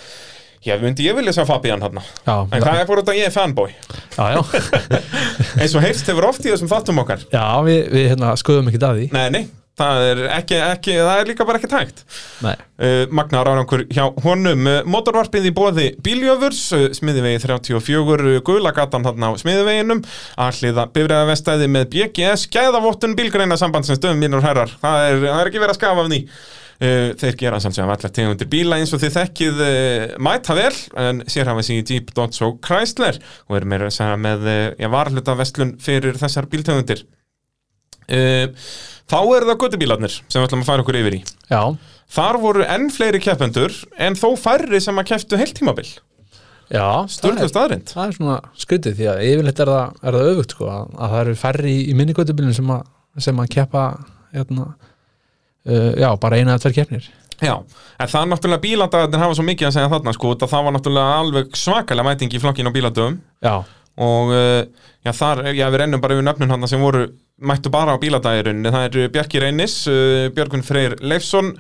Já, myndi ég vilja sjá Fabian hann En Já, það er bara þetta að ég er fanboy já, já, Eins og heyrst hefur oft í þessum þáttum okkar já við, við hérna skoðum ekki að því Nei, nei, það er, ekki, ekki, það er líka bara ekki tækt Nei. uh, magnaðar árangur hjá honum uh, motorvarpið í bóði bíljöfurs uh, smiðivegi 34, uh, gulagatan þarna á smiðiveginum, alliða bifræðavestæði með BGS, gæðavottun bílgreina samband sem stöðum mínur herrar það er, það er ekki verið að skafa af því Uh, þeir gera samt sem allar tegundir bíla eins og þið þekkið uh, mæta vel en sér hafa sig í Jeep, Dodge og Chrysler og eru meira að segja með uh, já, varhluta vestlun fyrir þessar bíltegundir uh, þá eru það göttubílarnir sem við ætlum að fara okkur yfir í Já, Þar voru enn fleiri keppendur en þó færri sem að kepptu heilt tímabil já Sturlu staðrind það er svona skrítið því að yfirleitt er það, er það öfugt sko, að, að það eru færri í, í minnikötubilin sem, að- sem að keppa hérna, uh, já, bara eina eða tver keppnir Já, en það er náttúrulega bíladagarnir hafa svo mikið að segja þarna sko út að það var náttúrulega alveg svakalega mæting í flokkinu á bíladöfum já, og uh, já, þar, já, við rennum bara við nöfnun hann sem voru mættu bara á bíladagirun það eru Bjarki Reynis, uh, Björgun Freyr Leifsson,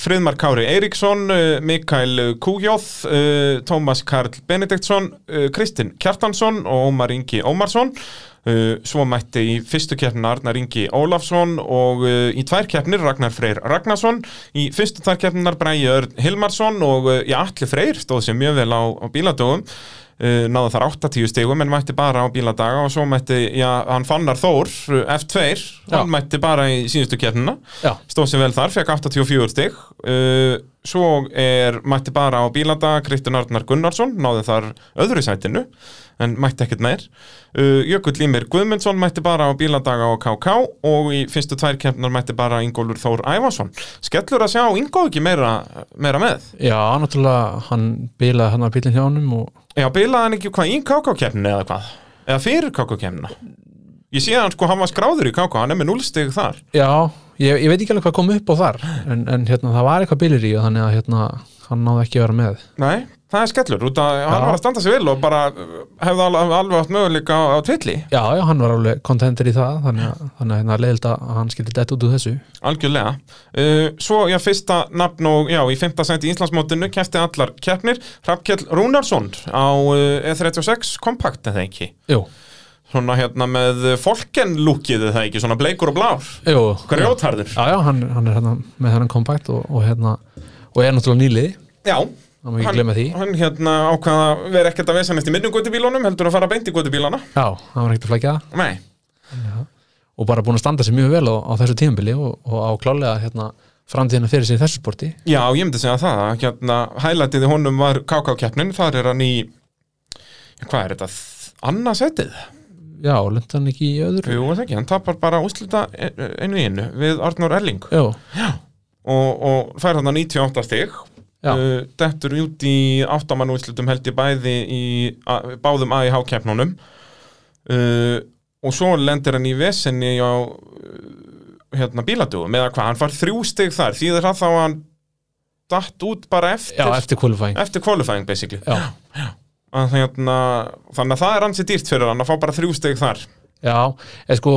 Friðmar Kári Eiríksson uh, Mikael Kújóð uh, Tómas Karl Benediktsson uh, Kristinn Kjartansson og Ómar Ingi Ómarsson uh, svo mætti í fyrstu keppnina Arnar Ingi Ólafsson og uh, í tvær keppnir Ragnar Freyr Ragnarsson í fyrstu tvær keppninar Bræi Örn Hilmarsson og uh, já, Atli Freyr stóð sér mjög vel á, á bíladögum uh, náðu þar 80 stigum en mætti bara á bíladaga og svo mætti, já, hann fannar Þór uh, F2, Já. hann mætti bara í síðustu keppnina já, stóð sér vel þar, fekk 84 stig uh, Svo er mætti bara á bílanda Kristján Arnar Gunnarsson, náði þar öðru sætinu, en mætti ekkert meir. Uh, Jökull Límir Guðmundsson mætti bara á bílandaga á KK og í fyrstu tvær keppnar mætti bara Ingólfur Þór Ævason. Skellur að sjá Ingó ekki meira, meira með. Já, náttúrulega hann bilaði hann að bílinn hjá honum og Já, bilaði hann ekki hvað í KK-keppninu eða hvað? Eða fyrir KK-keppnina? Ég sé að hann sko, hann var skráður í KK, hann er með núlstig þar. já, ég, ég veit ekki alveg hvað kom upp á þar en, en hérna, það var eitthvað bilir í og þannig að hérna, hann náði ekki að vera með Nei, það er skellur, út að hann Já. var að standa sig vel og bara uh, hefði alveg, alveg átt möguleika á, á tvilli. Já, já, hann var alveg kontenter í það þannig að, þannig að hérna, leiðild að hann skildi dætt út úr þessu Algjörlega. Uh, svo, já, fyrsta nafn og, já, í fymta senti í Íslandsmótinu kæfti allar keppnir, Hrafkjell Rúnarsson á uh, E36 Compact, eða ekki? Jú, Svona hérna með fólkenlúkið, eða ekki? Svona bleikur og blár, jú grjótharður. Já, já, hann, hann er hérna með þennan kompakt og, og hérna, og er náttúrulega nýliði Já, Það má ekki glemma því. hann hérna ákvaða að vera ekkert að vesa næst í minnum gotubílunum, heldur að fara beint í gotubílana. Já, hann var ekkert að flækja það Nei, og bara búin að standa sig mjög vel á, á þessu tímabili og, og á klálega hérna, framtíðina fyrir sér í þessu sporti já, ég myndi segja það, að, hérna, hælætið í honum var KK-keppnin, þar er hann í, hvað er þetta, annarsætið? Já, lendi hann ekki í öðru Jú, er það ekki, hann tapar bara úslita einu í einu við Arnór Erling og, Jú, og fær hann 98 stig Já. Uh, dettur út í áttamann úslitum held ég bæði í a, báðum AIH keppnunum uh, og svo lendir hann í vesenni á uh, hérna bíladugum eða hvað, hann fær þrjú stig þar því það þá að hann datt út bara eftir, já, eftir qualifying eftir qualifying basically Já, Að hérna, þannig að það er ansi dýrt fyrir hann að fá bara þrjú stig þar já, eða sko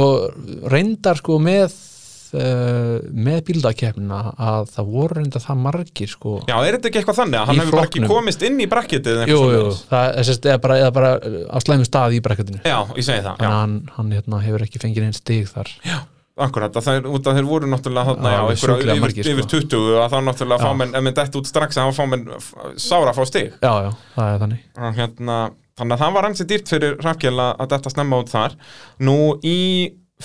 reyndar sko með uh, með bíldakefnina að það voru reyndar það margir sko Já, er þetta ekki eitthvað þannig að hann Í hefur bara ekki flokknum. komist inn í brakketið eða Jú, eitthvað jú, svoleiðis? það er sérst eða bara, eða bara uh, á slæmum stað í brekkatinu Já, ég segi það, þannig að já, hann, hann hérna, hefur ekki fengið einn stig þar akkurat að það er út að þeir voru náttúrulega þarna, Já, já, alveg einhverja sjúklega yfir, margir, sko. yfir 20 að þá náttúrulega fá Já. menn, ef menn dætt út strax að þá fá menn f- sára að fá stig Já, já, það er þannig Að hérna, þannig að það var hansi dýrt fyrir Rafkel að að detta snemma út þar Nú í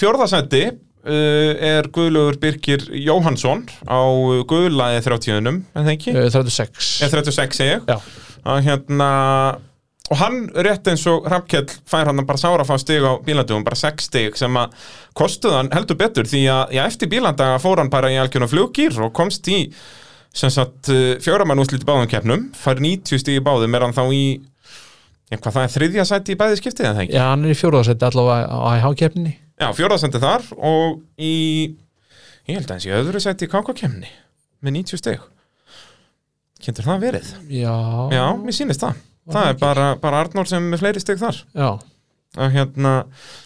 fjórðasendi uh, er Guðlaugur Birgir Jóhansson á Guðlaði 30-unum, en það ekki? E Uh, 36 Eða 36 segi ég Já, að hérna og hann rétt eins og Hrafkell fær hann bara sára að fá stig á bílandugum bara 6 stig sem að kostuð hann heldur betur því að já, eftir bílandaga fór hann bara í algjörnum flugir og komst í sem sagt eh, fjóramann úslit í báðum keppnum fær 90 stig í báðum er hann þá í ég, hvað það er þriðja sæti í bæði skiptið eða ekki? já hann er í fjóruðarsætti allavega á IH-kefninni Já, fjórða sæti þar og í ég held að hans í öðru sæti í kákakeppni með 90 stig kynntur það verið? Já, Já, mér sýnist það það er bara, bara Arnór sem er með fleiri stig þar já. að hérna,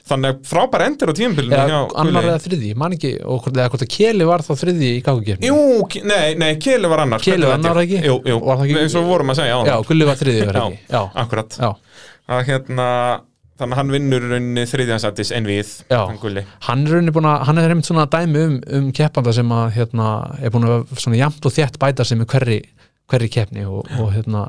þannig að frábær endir á tímabilinu Eða, hjá annar Guðlaugi. eða þriði, ég man ekki og hvort, eða hvort að Keli var þá þriði í kákukefni Jú, Ke- nei, nei, Keli var annar Keli var annar, ekki? Jú, jú, Var það ekki- eins og við vorum að segja á Já, Gulli var þriði var Já. ekki Já, Akkurat, já, að hérna þannig að hann vinnur í rauninni þriðjansættis einvið Já. hann gulli hann er rauninni búin að hann er reynd svona dæmi um, um keppanda sem að hérna, er búin að svona jafnt og þétt bæta sig með hverri, hverri keppni og, og hérna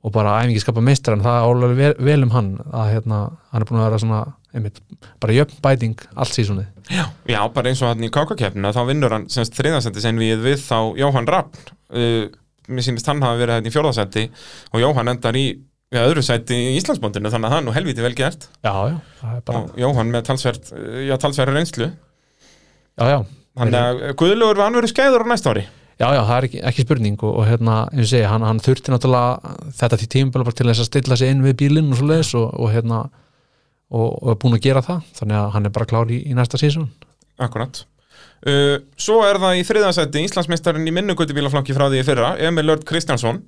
og bara æfingi skapa meistar en það álega vel, vel um hann að hérna, hann er búin að vera svona einmitt, bara jöfn bæting allt sísunni Já, bara eins og hann í kákakeppnina þá vinnur hann semst þriðjansættis einvið við þá Jóhann Rappn uh, mér sýnist hann hafa verið hérna í fjórðasætti og Jóhann endar í ja, öðru sætti í Íslandsbóndinu þannig að það er nú helviti vel gert Já, já, það er bara, og Jóhann með talsverð, eh, já, talsverð reynslu já, já Þannig að Guðlaugur var anverið skæður á næsta ári Já, já, það er ekki, ekki spurning og, og hérna, eins og segja, hann, hann þurfti náttúrulega þetta til tímabölu bara til þess að stilla sig inn við bílinn og svo leiðis og, og hérna og, og er búin að gera það, þannig að hann er bara klár í, í næsta sísón. Akkurat uh, Svo er það í þriðansætti Íslandsmeistarinn í minnugutubílaflokki frá því í fyrra Emil Örd Kristjánsson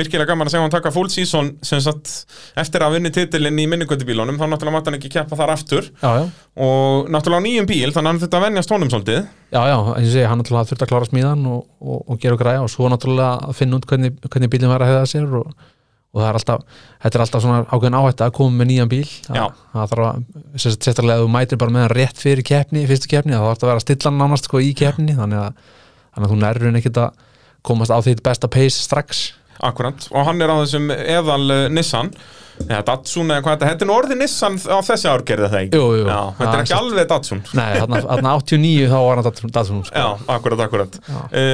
Virkilega gaman að segja hann taka full season sem sagt, eftir að vinni titilinn í minnugutubílunum þá náttúrulega mátt hann ekki keppa þar aftur Já, já, og náttúrulega á nýjum bíl þannig að hann þurfti að venjast honum svolítið já, já, eins og segja, hann náttúrulega þurfti að klára smíðan og, og, og gera og græja og svo náttúrulega að finna út hvernig, hvernig bílinn var að hefða sér og, og það er alltaf, þetta er alltaf svona ákveðin áhætt að koma með nýjan bíl. Já. Það, það þarf að, sem sagt, sérstaklega ef þú mætir bara með hann rétt fyrir keppni, fyrstu keppni, þá þarf að vera að stilla hann nánast sko í keppni, þannig að, þannig að þú nærur en ekkit að komast á þitt besta pace strax. akkurat og hann er á þessum eðal uh, Nissan eða Datsun eða hvað þetta þetta er nú orðið Nissan á þessi ár gerði það ekki Jú, jú. Já, þetta Já, er ekki satt. alveg Datsun Nei, þarna þarna 89 þá var hann Datsun sko. Já, akkurat, akkurat uh,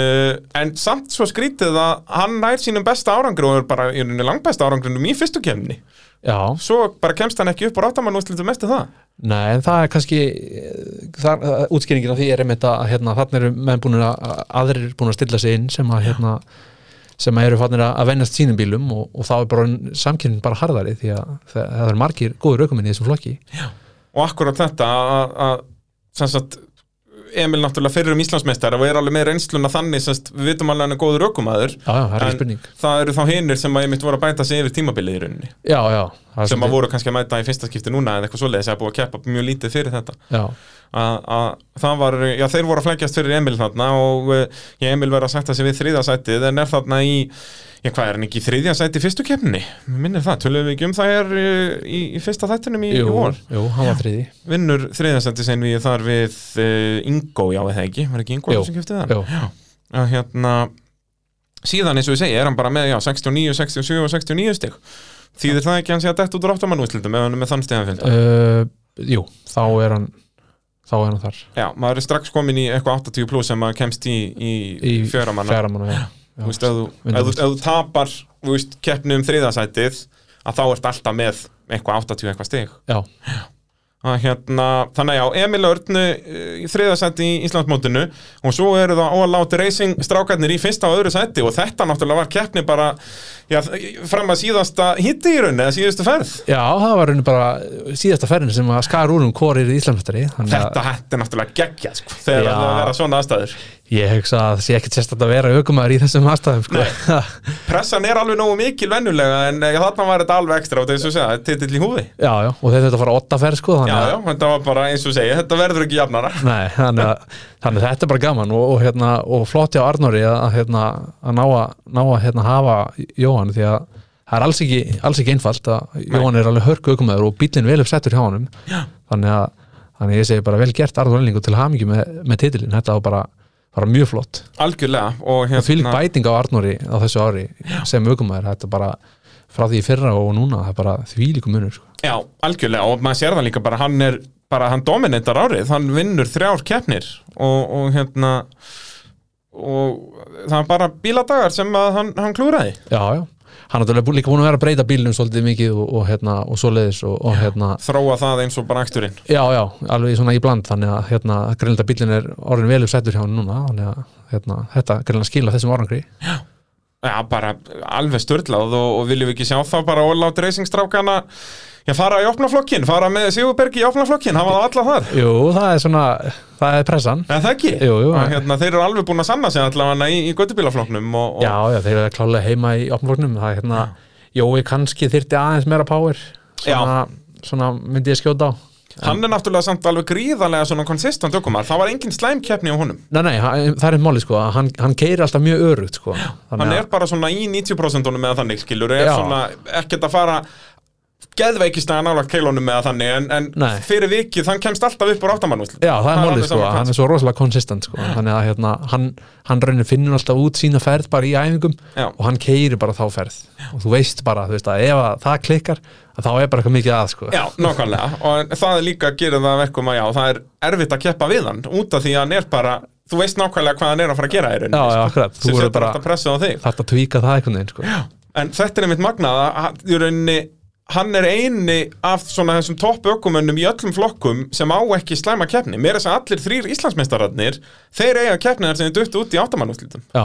En samt svo skrítið að hann nær sínum besta árangri og er bara í rauninni langbesta árangrinum í fyrstu kemni Já, Svo bara kemst hann ekki upp á ráttamann úrslitum eftir það Nei, en það er kannski það, útskýringin á því er einmitt að hérna, þarna eru menn búin að aðrir búin að stilla sig inn sem að hérna, sem að eru fannir að vennast sínum bílum og, og þá er bara samkynnin bara harðari því að það, það eru margir góður aukumenn í þessum flokki Og akkurat þetta að- að sem sagt, Emil náttúrulega fyrir um Íslandsmeistar og er alveg með reynsluna þannig sem sagt, við vitum alveg að hann er góður ökumæður Já, já, það er ekki En- spurning Það eru þá hinir sem að ég mitt voru að bæta sig yfir tímabilið í rauninni Já, já, það er sem að svolítið- voru kannski að mæta í fyrsta skipti núna eða eitthvað svoleiðis að búið að keppa mjög lítið fyrir þetta Já, að að það var, já þeir voru að flækjast fyrir Emil þarna og uh, ég Emil verið að sætta sig við þriðja sætið en er þarna í, já hvað er hann ekki í þriðja sæti í fyrstu keppni, minnir það, tölum við ekki um það er uh, í, í fyrsta þættinum í, í jú, vor, jú, hann var þriði vinnur þriðja sæti sem við þar við uh, Ingo, já eða ekki, var ekki Ingo Jú, sem kefti það, Jú, að hérna síðan eins og ég segi, er hann bara með já, 69, 67 og 69 stig þýðir það ekki að hann sé að dett út úr áttamannúslindum ef hann er með þann stegafjöld uh, jú þá er hann þá er hann þar Já, maður er strax komin í eitthvað 80 pluss sem maður kemst í, í, í í fjöramanna fjara manna, já, já. Þú veist, ef þú, Undan ef þú, úrslit. ef þú tapar þú veist, keppni um þriðasætið að þá ert alltaf með eitthvað 80 eitthvað stig já, að, hérna, Þannig að já, Emil Örnu í þriðasæti í Íslandsmótinu og svo eru það All Out Racing strákarnir í fyrsta og öðru sæti og þetta náttúrulega var keppni bara já, fram að síðasta hitti í raunni eða síðustu ferð Já, það var raunin bara síðasta ferðin sem að skar úr um hvori er í Íslamstari Þetta hætti náttúrulega geggjað sko, þegar Já. það er að vera svona aðstæður Ég hugsa að það sé ekkert sérstætt að vera aukumæður í þessum aðstæðum sko. Pressan er alveg nógu mikil vennulega en eh, þarna var þetta alveg ekstra og þess að segja, titill í húfi Já, já, og þetta er að fara åtta ferð sko, Já, þannig, já, að- þetta var bara eins og segja, þetta verður ekki jafnara Nei, þannig, að, þannig að þetta er bara gaman og, og, hérna, og flott hjá Arnóri að, að, hérna, að ná að, ná að hérna, hafa Jóhann því að það er alls ekki, alls ekki einfalt að Jóhann er alveg hörku aukumæður og bílinn vel upp settur hjá honum já. þannig að þannig að ég segi bara vel gert Arnóri Elning og til hamingi með, með titilin þetta var bara, bara mjög flott Algjörlega og og fylg hérna, bæting á Arnóri á þessu ári sem aukumæður, þetta er bara frá því í fyrra og núna, það er bara þvílíku munur sko. já, algjörlega og maður sér það líka bara, hann er bara, hann dominantar árið, hann vinnur þrjár keppnir og, og hérna og það er bara bíladagar sem að hann, hann klúraði já, já, hann er náttúrulega bú- líka búin að vera að breyta bílnum svolítið mikið og, og, hérna, og svoleiðis og, og hérna, þróa það eins og bara aksturinn já, já, alveg svona í bland þannig að hérna, greinlega bílinn er orðin vel uppsettur hjá hann núna, þannig að hérna, þetta greinlega skila þessum orangri Já, bara alveg störlað og, og viljum við ekki sjá þá bara ólátt reysingstrákana Já, fara í opnaflokkin, fara með Sigurbergi í opnaflokkin, hafa það alla þar jú, það er svona, það er pressan Eða það ekki? Jú, jú. Að Hérna, þeir eru alveg búin að sanna sig allavega í, í göttubílaflokknum og, og já, já, þeir eru klálega heima í opnvörnum það er hérna, jói kannski þyrti aðeins meira power svona, svona myndi ég skjóta á Hann er náttúrulega samt alveg gríðarlega svona konsistant ökumar, það var engin slæmkeppni á honum Nei, nei, hann- það er einn máli sko að hann, hann keiri alltaf mjög örugt sko Þannig Hann að- er bara svona í 90% honum eða þannig skilur, er Já. svona ekkert að fara geðveikislega nálagt keilunum eða þannig en, en Nei. fyrir vikið, hann kemst alltaf upp á ráttamannúsli Já, það er málið alveg sko, sama hvað. hann er svo rosalega konsistent sko Þannig að hérna, hann, hann raunir finnur alltaf út sína ferð bara í æfingum Já. Og hann keiri bara þá ferð Og þú veist bara, þú veist að ef að það klikkar að Þá er bara eitthvað mikið að sko Já, nákvæmlega og það er líka að gera það að verkum að já, það er erfitt að keppa við hann út af því að hann er bara, þú veist nákvæmlega hvað hann er að fara að gera í rauninni já, sko, akkurat, þú sem verður setur bara alltaf pressið á þig þarft að tvíka það einhvern veginn sko en þetta er einmitt magnað að hann- í rauninni hann er eini af svona þessum topp ökumönnum í öllum flokkum sem á ekki slæma keppni, mér er þess að allir þrýr Íslandsmeistararnir, þeir eiga keppni þar sem þeir duttu út í áttamannúslitum Já,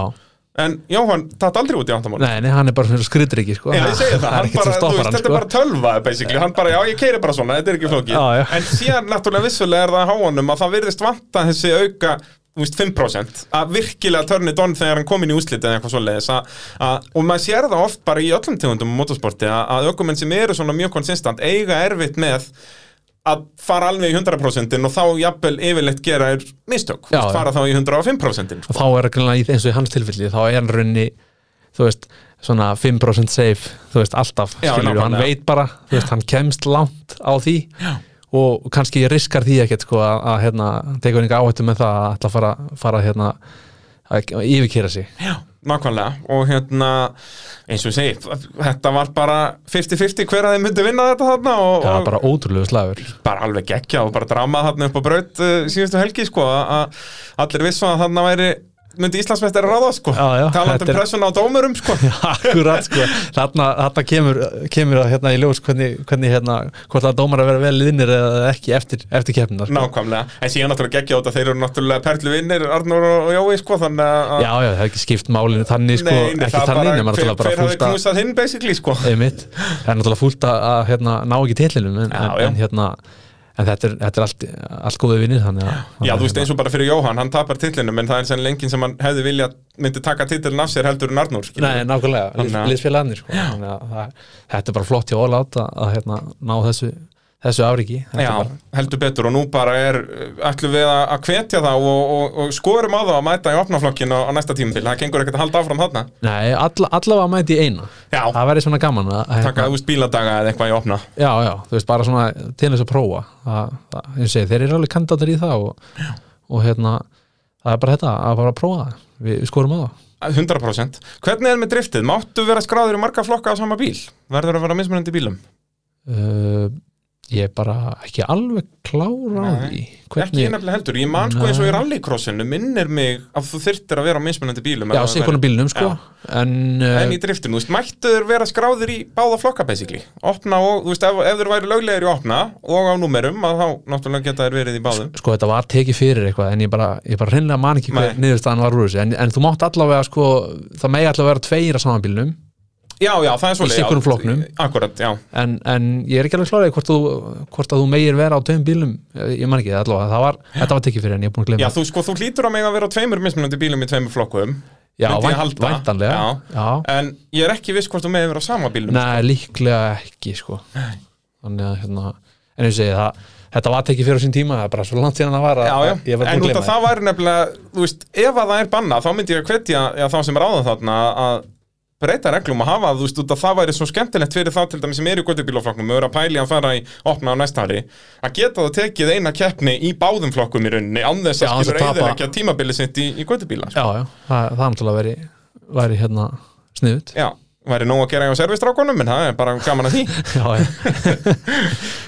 en Jóhann tatt aldrei út í áttamannúslitum nei, nei, hann er bara svona skrýtriki sko Já, ég segi það, er hann ekkert bara, sem þú stoppar veist, hann þetta er sko bara tölva basically, hann bara, já, ég keiri bara svona, þetta er ekki flókið Já, já. en síðan náttúrulega vissulega er það á honum að það virðist vanta þessi auka þú veist, 5% að virkilega törni don þegar hann komin í úslitið eða eitthvað svoleiðis að- að- og maður sér það oft bara í öllum tegundum á motorsporti að, að ökumenn sem eru svona mjög konsistant eiga erfitt með að fara alveg í 100% og þá jafnvel yfirleitt gera er mistök, Já, Þú veist, já. fara þá í 105% og þá er greinlega í- eins og í hans tilfelli þá er hann raunni þú veist, svona 5% safe þú veist, alltaf, Já, skilur hann nákvæmlega. veit bara þú veist, hann kemst langt á því Já. og kannski riskar því ekkert sko að, að hérna, teka einhver áhættu með það að ætla að fara, fara hérna að yfirkera sig nákvæmlega og hérna eins og ég segi, þetta var bara 50-50 hver að þeim myndi vinna þetta þarna og, það var og bara... bara ótrúlegu slagur alveg gekkja og bara drama þarna upp á braut uh, síðustu helgi sko að- að allir vissu að þarna væri myndi Íslandsmeistari ráða sko Já, já, talandi þetta um er- pressuna á dómurum sko Akkurat, sko, þarna, þarna kemur, kemur að, hérna í ljós hvernig, hvernig hérna, hvort að dómar að vera vel liðnir eða ekki eftir, eftir keppnina sko. nákvæmlega, en síðan náttúrulega gekkja á þetta þeir eru náttúrulega perluvinnir Arnur og Jói sko þannig að Já, já, það er ekki skipt málinu þannig sko, Nei, nei, ekki það þannig, nema bara, hver, náttúrulega bara hver hafði fúlt að knúsað hinn basically sko einmitt, það er náttúrulega fúlt að, að hérna, ná ekki tillinum en, Já, en, já. en hérna en þetta er, þetta er allt, allt góði vinnir þannig að Já, þú veist hérna, eins og bara fyrir Jóhann, hann tapar titlinum en það er sennilega enginn sem hann hefði viljað myndi taka titlin af sér heldur en Arnór skilur. Nei, nákvæmlega, Þannig að- lið- liðsfélagarnir sko. þannig að það- þetta er bara flott hjá Ólátt að, að hérna, ná þessu, þessu afriki Þetta er Já, bara, heldur betur og nú bara er uh, ætlum við að að hvetja þá og, og, og skorum á þá að mæta í opnaflokkin á, á næsta tímabil, það gengur ekkert að halda áfram þarna Nei, alla, allavega mæti í eina Já, það væri svona gaman að, að taka úst bíladaga eða eitthvað í opna já, já, þú veist, bara svona til þess að prófa það, það, ég segi, þeir eru alveg kandidatar í það og, og hérna það er bara þetta, að bara prófa það við, við skorum á það 100% Hvernig er með driftið? Máttu vera skráður í marga flokka á sama bíl? Verður að vera mismunandi í bílum? uh, ég er bara ekki alveg klára á Nei, því Ekki hérna, nefnilega heldur, ég man sko eins og í Nei. rallycrossinu minnir mig að þú þyrftir að vera á mismunandi bílum já, ef það sé væri- hvernig bílnum, sko en, uh, En í driftinu, þú veist, mættuður vera skráður í báða flokka basically Opna og, þú veist, ef, ef þeir væri löglegir í opna og á númerum að þá náttúrulega geta þeir verið í báðum sko, þetta var tekið fyrir eitthvað en ég bara, ég bara hreinlega man ekki hver Nei. niðurstaðan var úr þessu, en, en þú mátt allavega sko, það megi allavega vera tveir á saman bílnum Já, já, það er svolítið Í sikkurum flokknum. Akkurat, já en, en ég er ekki alveg kláraði hvort, þú- hvort að þú meir vera á tveim bílum ég ég man ekki, allavega, það var, þetta var tekið fyrir en ég er búin Já, að glemja þú sko, þú hlýtur að mig að vera á tveimur mismunandi bílum í tveimur flokkum já, myndi ég halda. væntanlega Já. Já. En ég er ekki viss hvort þú meði vera á sama bílum Nei, líklega ekki sko. þannig að hérna en ég segi það, þetta var tekið fyrir á sín tíma það er bara svo langt síðan það var að Já, já, að ég var en búin að út af gleyma það væri nefnilega, þú veist, ef að það er banna þá myndi ég að hvetja já, þá sem er áðan þarna að breyta reglum að hafa, þú veist, út af það væri svo skemmtilegt fyrir þá til dæmis sem eru í göttubílaflokknum og eru að pæli að fara í opna á næsta ári að geta það tekið eina keppni í báðum flokkum í rauninni án þess Já, að án þess skilur að tapa. eðir ekki að tímabili sitt í, í göttubíla sko. já, já, það, það er náttúrulega veri, veri hérna sniðut Já, væri nóg að gera hjá servistrákonum en það er bara gaman að því já, já.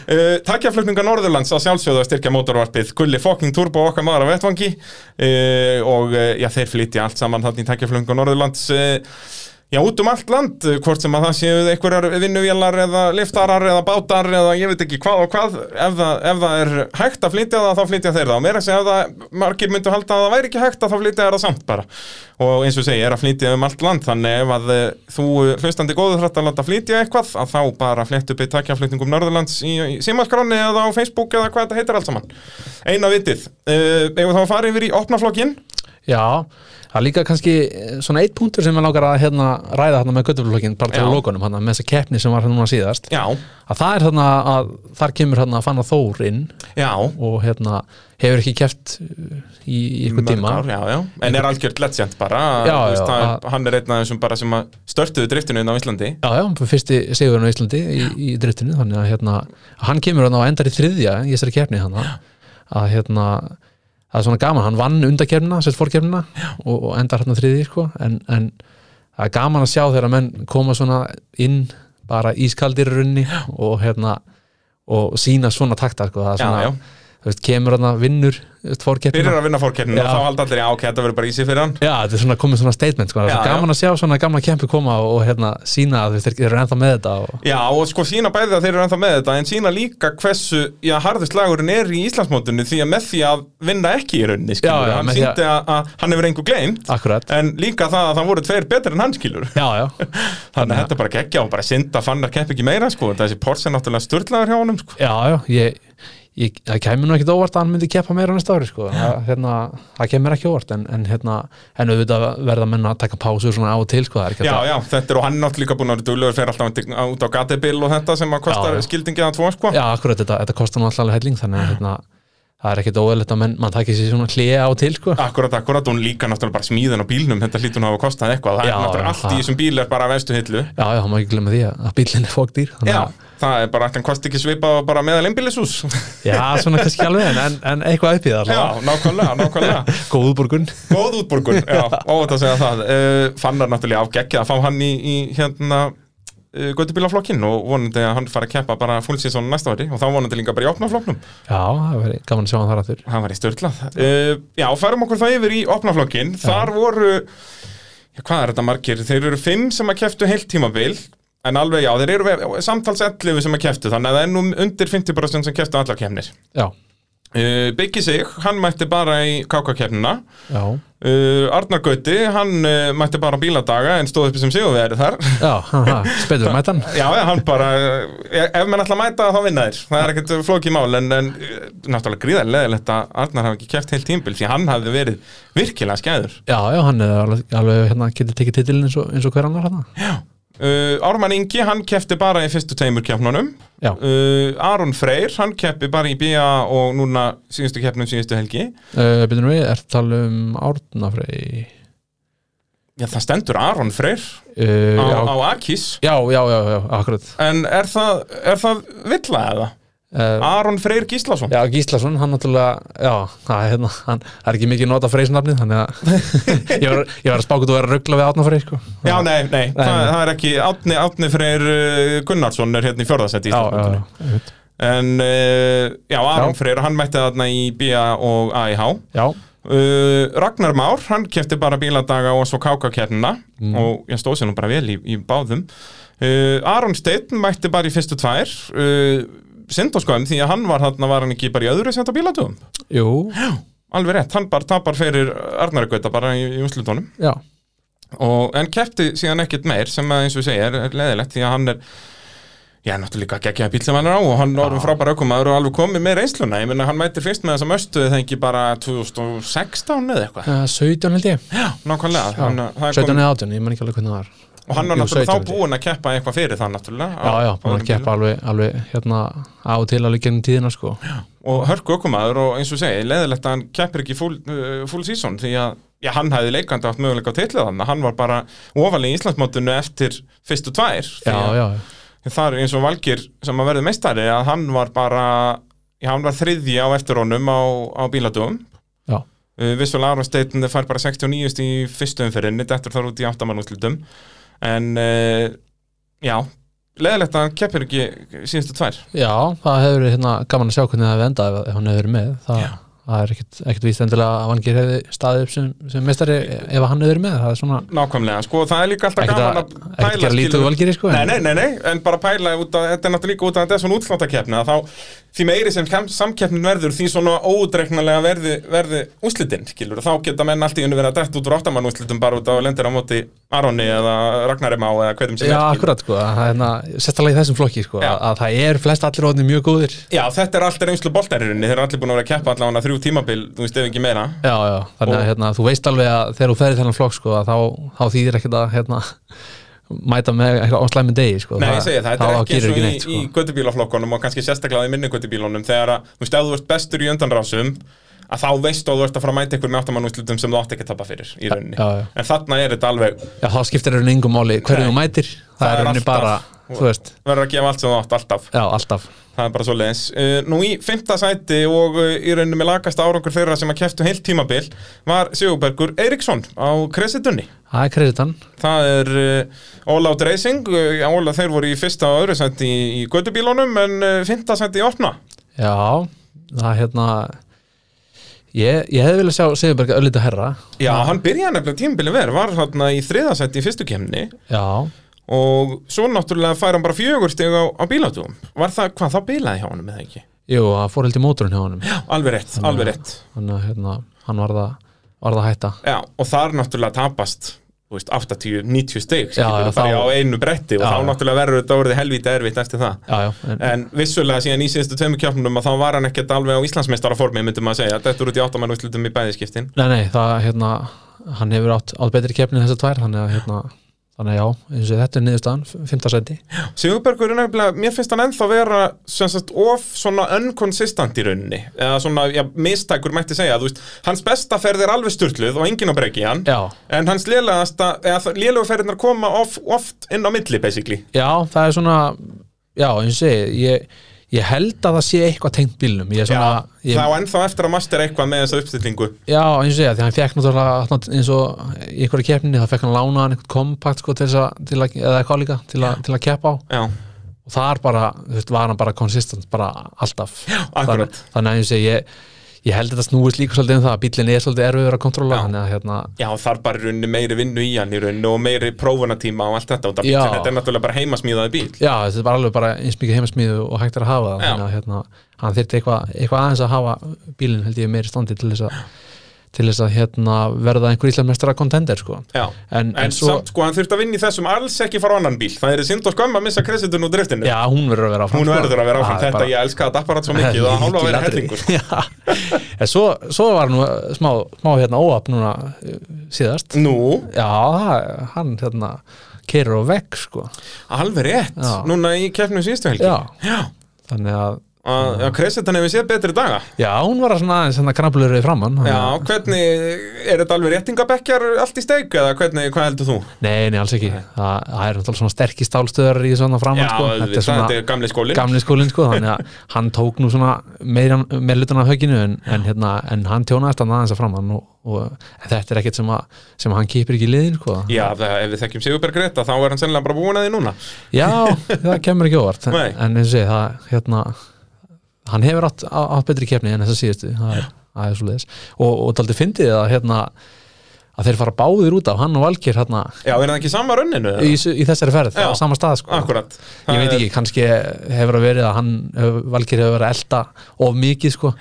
Uh, Takkjaflutninga Norðurlands að sjálfsögðu að styrkja mótorvarpið Gulli fokking turbo okkar maður á vettvangi uh, og uh, já, þeir flytja allt saman þarna í Takkjaflutninga Norðurlands uh, já, út um allt land uh, hvort sem að það séu einhverjar vinnuvélar eða liftarar eða bátar eða ég veit ekki hvað og hvað ef það, ef það er hægt að flytja það þá flytja þeir það og meira að segja ef það margir myndu halda að það væri ekki hægt að þá flytja þeir það samt bara og eins og segi, er að flytja um allt land þannig ef að uh, þú uh, hlustandi góður þrætt að láta flytja eitthvað að þá bara flett upp í takkjaflutningum Norðurlands í, í símaskráni eða á Facebook eða hvað þetta heitir allt saman eina vitið, uh, ef þá að fara yfir í opnaflokkin já, það er líka kannski eh, svona eitt punktur sem ég langar að hérna, ræða hérna með göttuflokkin bara til Já. lókunum hérna, með þessa keppni sem var hérna núna síðast já, að það er þarna að þar kemur hérna að fanna Þór inn já og hérna hefur ekki keft í ykkur mörg tíma ár, já, já. en er algjört legend bara Já, þú já, það, að- er- hann er einn af þessum bara sem að störtuðu driftinu inn á Íslandi Já, já, fyrsti sigurinn á Íslandi í, í driftinu, þannig að hérna, hann kemur hann á endar í þriðja í þessari keppni hann að hérna það er svona gaman, hann vann undarkeppnina, sérst fórkeppnina og, og endar hérna þriði sko. en, en það er gaman að sjá þegar menn koma svona inn bara ískaldir runni og hérna og sína svona takta sko. það er Já, svona, já. þú veist, kemur hann að vinnur fórkeppnina byrjar að vinna fórkeppninu og Já. þá halda allir, já, ok, þetta verður bara ísi fyrir hann Já, þetta er svona komið svona statement sko. það er Já, svo já. gaman að sjá svona gamla kempi koma og hérna sína að þeir þeir eru ennþá með þetta og, Já, og sko sína bæði að þeir eru ennþá með þetta en sína líka hversu, já, harðu slagurinn er í Íslandsmótinu því að með því að vinna ekki í rauninni, skilur, Já, já, hann með því að- síndi að, að hann hefur engu gleymt, akkurat en líka það að það voru tveir betur en hann, skilur já, já, þannig að þetta bara geggja og bara synda fannar kepp ekki meira, sko, þessi Porsche er náttúrulega sturlaður hjá honum, sko. já, já ég, ég, það kemur nú ekkit óvart að hann myndi keppa meira næsta ári sko. það, hérna, það kemur ekki óvart en, en, hérna, en auðvitað verða menn að taka pásur svona á og til sko. það er ekki Já, hægt að- já, þetta er og hann er náttúrulega líka búin að vera duglegur fyrir alltaf út í- út á gatibill og þetta sem að kostar Já, já. skildingið að tvo, sko já, akkurat, þetta, þetta kostar nú alltaf alveg helling þannig að hérna, það er ekkit óvælegt að menn, mann takir sér svona hlýja á og til sko. Akkurat, akkurat, hún líka náttúrulega bara smíðin á bílnum, þetta hlýtur hún að hafa kostað eitthvað, það Já, er náttúrulega já, allt í það- þessum bíl er bara að vestu hillu. já, já, hann má ekki glemma því að, að bílinn er fókdýr þannig Já, að Það er bara, ætti hann kvast ekki svipað bara meðal einbýlishús já, svona kannski ekki alveg en, en, en eitthvað uppið það Já, nákvæmlega, nákvæmlega góð útborgun Góð útborgun, já, óvænt að segja það uh, Fannar náttúrulega ágeggjað að fá hann í, í hérna uh, Götubílaflokkinn og vonandi að hann fara að keppa bara fullsíðsson næsta ári og þá vonandi líka bara í opnaflokknum já, það væri gaman að sjá hann þar aftur Það var í störlað uh, Já, færum okkur það yfir í opnaflokkinn Þar voru, já, hvað er þetta margir? Þeir eru fimm sem að keftu heilt tímabil En alveg, já, þeir eru ve- samtals 11 sem að keftu Þannig að það er nú undir 50% sem keftu allar kemnir já, uh, Byggi sig, hann mætti bara í kákakefnina já, Uh, Arnar Gauti, hann uh, mætti bara á bíladaga en stóð upp sem sigurveri þar já, haha, spennur mætan Já, já, hann bara, uh, ef menn ætla að mæta þá vinna þér, það er ekkert eh, flókið mál en, en uh, náttúrulega gríðarlega leðilegt að Arnar hafi ekki keft heilt tímbil því hann hafði verið virkilega skæður já, já, hann er alveg, alveg hérna, getur tekið titilin eins og, eins og hver annar hérna. uh, Ármann Ingi, hann kefti bara í fyrstu teimur keppnunum já, uh, Aron Freyr, hann keppi bara í BIA og núna síðustu keppnum síðustu helgi uh, byrjum við, er tala um Árnafrey Já, það stendur Aron Freyr uh, á, já, á Akis já, já, já, já, akkurat en er það, er það villa eða? uh, Aron Freyr Gíslason Já, Gíslason, hann náttúrulega, já, það er, hérna, hann, það er ekki mikið nota freysnafnið, þannig að ég var, ég var að spákut að vera að ruggla við átnafrey, sko. Já, nei, nei, það, nei. það er ekki Átni, Átni Freyr uh, Gunnarsson er hérna í fjörðarsætti í já, já, Íslandsmótinu já, einmitt. En uh, já, Aron Já. Freyr, hann mætti þarna í BIA og AIH uh, já, Eh, Ragnar Már, hann kefti bara bíladaga og svo kákakeppnina og ég stóð sér nú bara vel í, í báðum uh, Aron Steinn mætti bara í fyrstu tvær uh, Sindoskoðum því að hann var þarna var hann ekki bara í öðru senda bíladugum jú, Alveg rétt, hann bara tapar fyrir Arnargöta bara í, í úslutónum já, og, en kefti síðan ekkert meir sem að eins og segja er, er leðilegt því að hann er já, náttúrulega geggjaði bíl sem hann er á og hann er orðum frábæra aukumæður og alveg komið með reynsluna ég menna hann mætir fyrst með þessam östu það ekki bara 2016 eða eitthvað uh, 17 held ég, já, nákvæmlega já, Þannig að það er 17 komið- eða 18, ég man ekki alveg hvernig það var. og hann var Jú, náttúrulega 17 þá held ég. búinn að keppa eitthvað fyrir það náttúrulega Já, á- já, á búin að öðrum bílum. keppa alveg, alveg, hérna, á og til alveg gennum tíðina, sko. og hörku aukumæður og eins og segja leðilegt að hann keppir ekki full, uh, full season því að já, hann hafði leikandi átt möguleika á titlið hann hann var bara ofalega í Íslandsmótinu eftir fyrstu tvær því Já, að- já, þar eins og Valgir sem að verði meistari að hann var bara já, hann var þriðji á eftir honum á, á bíladugum já, uh, vissulega Aron Steinn fær bara 69 í fyrstu umfyrinni, dettur þar út í áttamannúslutum en uh, já, leðilegt að hann keppir ekki síðustu tvær já, það hefur verið, hérna, gaman að sjá hvernig það hefði endað ef, ef hann hefur verið með, það... Já. Það er ekkert, ekkert víst endilega að Vangir hefði staðið upp sem, sem mestari ef hann hefur verið með, það er svona nákvæmlega, sko það er líka alltaf ekkert að, gaman að ekkert að pæla gera lítið skilur- úr Valgeri sko, Nei, en- nei, nei, nei, en bara pæla út að þetta er náttúrulega líka út að þetta er svona útsláttakefni að þá því meiri sem kam- samkeppnin verður því svona ódreiknarlega verði, verði úslitinn, skilur, þá geta menn allt í unni verið að dætt út úr áttamann úslitum bara út á lendir á móti Aroni eða Ragnari Má eða hverjum sem Já, er, skilurðu. akkurat sko, að það er hérna, sérstaklega í þessum flokki sko, Já. að, að það er flest allir orðin mjög góðir Já, þetta er allt reynslu boltarinninni, þeir eru allir búin að vera að keppa allavega þrjú tímabil, þú veist ef ekki meira Já, já, þannig að hérna, þú veist alveg að þegar þú ferði þennan flokk sko, að þá, þá þýðir ekkert að hérna, mæta með eitthvað áslæmi degi sko, Nei, ég segi það, þetta er þá ekki eins gerir og í, neitt, sko. í göttubílaflokkunum og kannski sérstaklega í minni göttubílunum þegar að, þú veist, ef þú ert bestur í undanrásum að þá veistu að þú ert að fara að mæta ykkur með áttamann úrslitum sem þú átt ekki að tapa fyrir í rauninni. já, já. En þarna er þetta alveg, Já, þá skiptir eru engum máli hverju Nei. þú mætir, það, Það er er rauninni alltaf- bara, þú veist, verður að gefa allt sem þú átt alltaf. já, alltaf Það er bara svo leiðis. Nú í fymta sæti og uh, í rauninni með lakast árangur þeirra sem að keftu heilt tímabil var Sigurbergur Eiríksson á Kresitunni. Það er kreditann, Það er uh, All Out Racing, uh, All Out þeir voru í fyrsta og öðru sæti í, í göttubílunum en uh, fymta sæti í opna. já, það er hérna Ég, ég hefði viljað sjá Sigurberg öllítið herra Já, Ah, hann byrjaði nefnilega tímabilið verið, var hérna í þriðasætti í fyrstu kemni Já, og svo náttúrulega fær hann bara fjögur stig á, á bílátúum. Var það, hvað, þá bilaði hjá honum eða ekki? Mm. jú, það fór held í mótorinn hjá honum Alveg rétt, alveg rétt. Þannig að hérna, hann varð að, varð að hætta Já, og þar náttúrulega tapast, þú veist, 80-90 stig, Já, skilur bara já, þá- á einu bretti og Já, já. þá náttúrulega verður þetta orðið helvítið erfitt eftir það. já, já, en, En vissulega síðan í síðustu tveimur kjöfnum að þá var hann ekkert alveg á Íslandsmeistara formi, myndum að segja, þetta er út í áttamann úrslutum í bæðiskiptin. nei, nei, það hérna hann hefur átt, átt betri keppni en þessar tvær þannig að hérna, þannig að já eins og þetta er niðurstaðan, 15 seti Sigurbergur er nefnilega, mér finnst hann ennþá vera sem sagt of svona unconsistent í rauninni, eða svona, já, mistækur mætti segja, þú veist, hans besta ferð er alveg sturtluð og enginn á breki hann já, en hans lélegasta, eða lélegu ferðinar koma of, oft inn á milli, basically já, það er svona já, eins og segi, ég, ég held að það sé eitthvað tengt bílnum ég er svona, já, ég, þá ennþá eftir að master eitthvað með þessa uppstillingu já, eins og segja, því hann fekk náttúrulega þarna, eins og í einhverja keppninni, það fekk hann lánaðan einhvern kompakt sko til þess að, til að eða eitthvað líka, til, a, til að keppa á já, og þar bara, þú veist, var hann bara konsistent, bara alltaf já, akkurat. þannig, þannig að eins og segja, ég, ég held að þetta snúist líka svolítið um það, að bíllinn er svolítið erfiður að Já. kontrola, þannig að hérna já þar bara í rauninni meiri vinnu í hann í rauninni og meiri prófunatíma og allt þetta og það Já. bíllinn, þetta er náttúrulega bara heimasmíðaði bíl Já, þetta var alveg bara eins mikið heimasmíðu og hægt er að hafa það Já. þannig að hérna, hann þyrfti eitthvað eitthva aðeins að hafa bílinn held ég meiri í standi til þess að til þess að hérna, verða einhver íslensmestara kontender sko. já, en, en svo, samt sko hann þurft að vinna í þessum alls ekki fara á annan bíl, það er synd og skömm að missa kresitun úr driftinu já, hún verður að vera áfram sko. Hún verður að vera áfram, Það er þetta ég elska þetta apparat svo mikið og það hálfa að vera hellingur sko. Já, en svo, svo var nú eh, smá, smá hérna óafn núna eh, síðast Nú, Já, það- hann hérna keirir á vegg sko. alveg rétt, Já. núna í keppnum síðustu helgi Já. já. þannig að að að Kresetan hefur séð betri daga Já, hún var að svona aðeins hérna krampulurði framann þannig Já, að- hvernig, er þetta alveg réttingabekkjar allt í steik eða hvernig, hvað heldur þú? Nei, nei, alls ekki Þa, Það er náttúrulega svona sterkir stálstöðar í svona framann Já, sko. auðvitað, Þetta er svona gamli skólin gamli skólinn sko, þannig að hann tók nú svona meira, meira lutan af höginu en, en, hérna, en hann tjónaðist hann aðeins að framann og, og en þetta er ekkert sem, að, sem hann kýpir ekki í liðin sko. Já, það, ef við þekkjum Sigurberg rétt að þá er hann sennilega bara búin að því núna Já, það kemur ekki óvart en, Nei. en eins og ég, það hérna hann hefur átt, á- átt betri kefni en þess að síðustu það er, það er svo leiðis og, og daldi fyndið að hérna að þeir fara báðir út af hann og Valgir hérna, Já, er það ekki í sama rönninu? í, s- í þessari ferð Já. á sama stað sko. Akkurat ég veit ekki, kannski hefur að verið að hann hefur, Valkir hefur verið að elda of mikið sko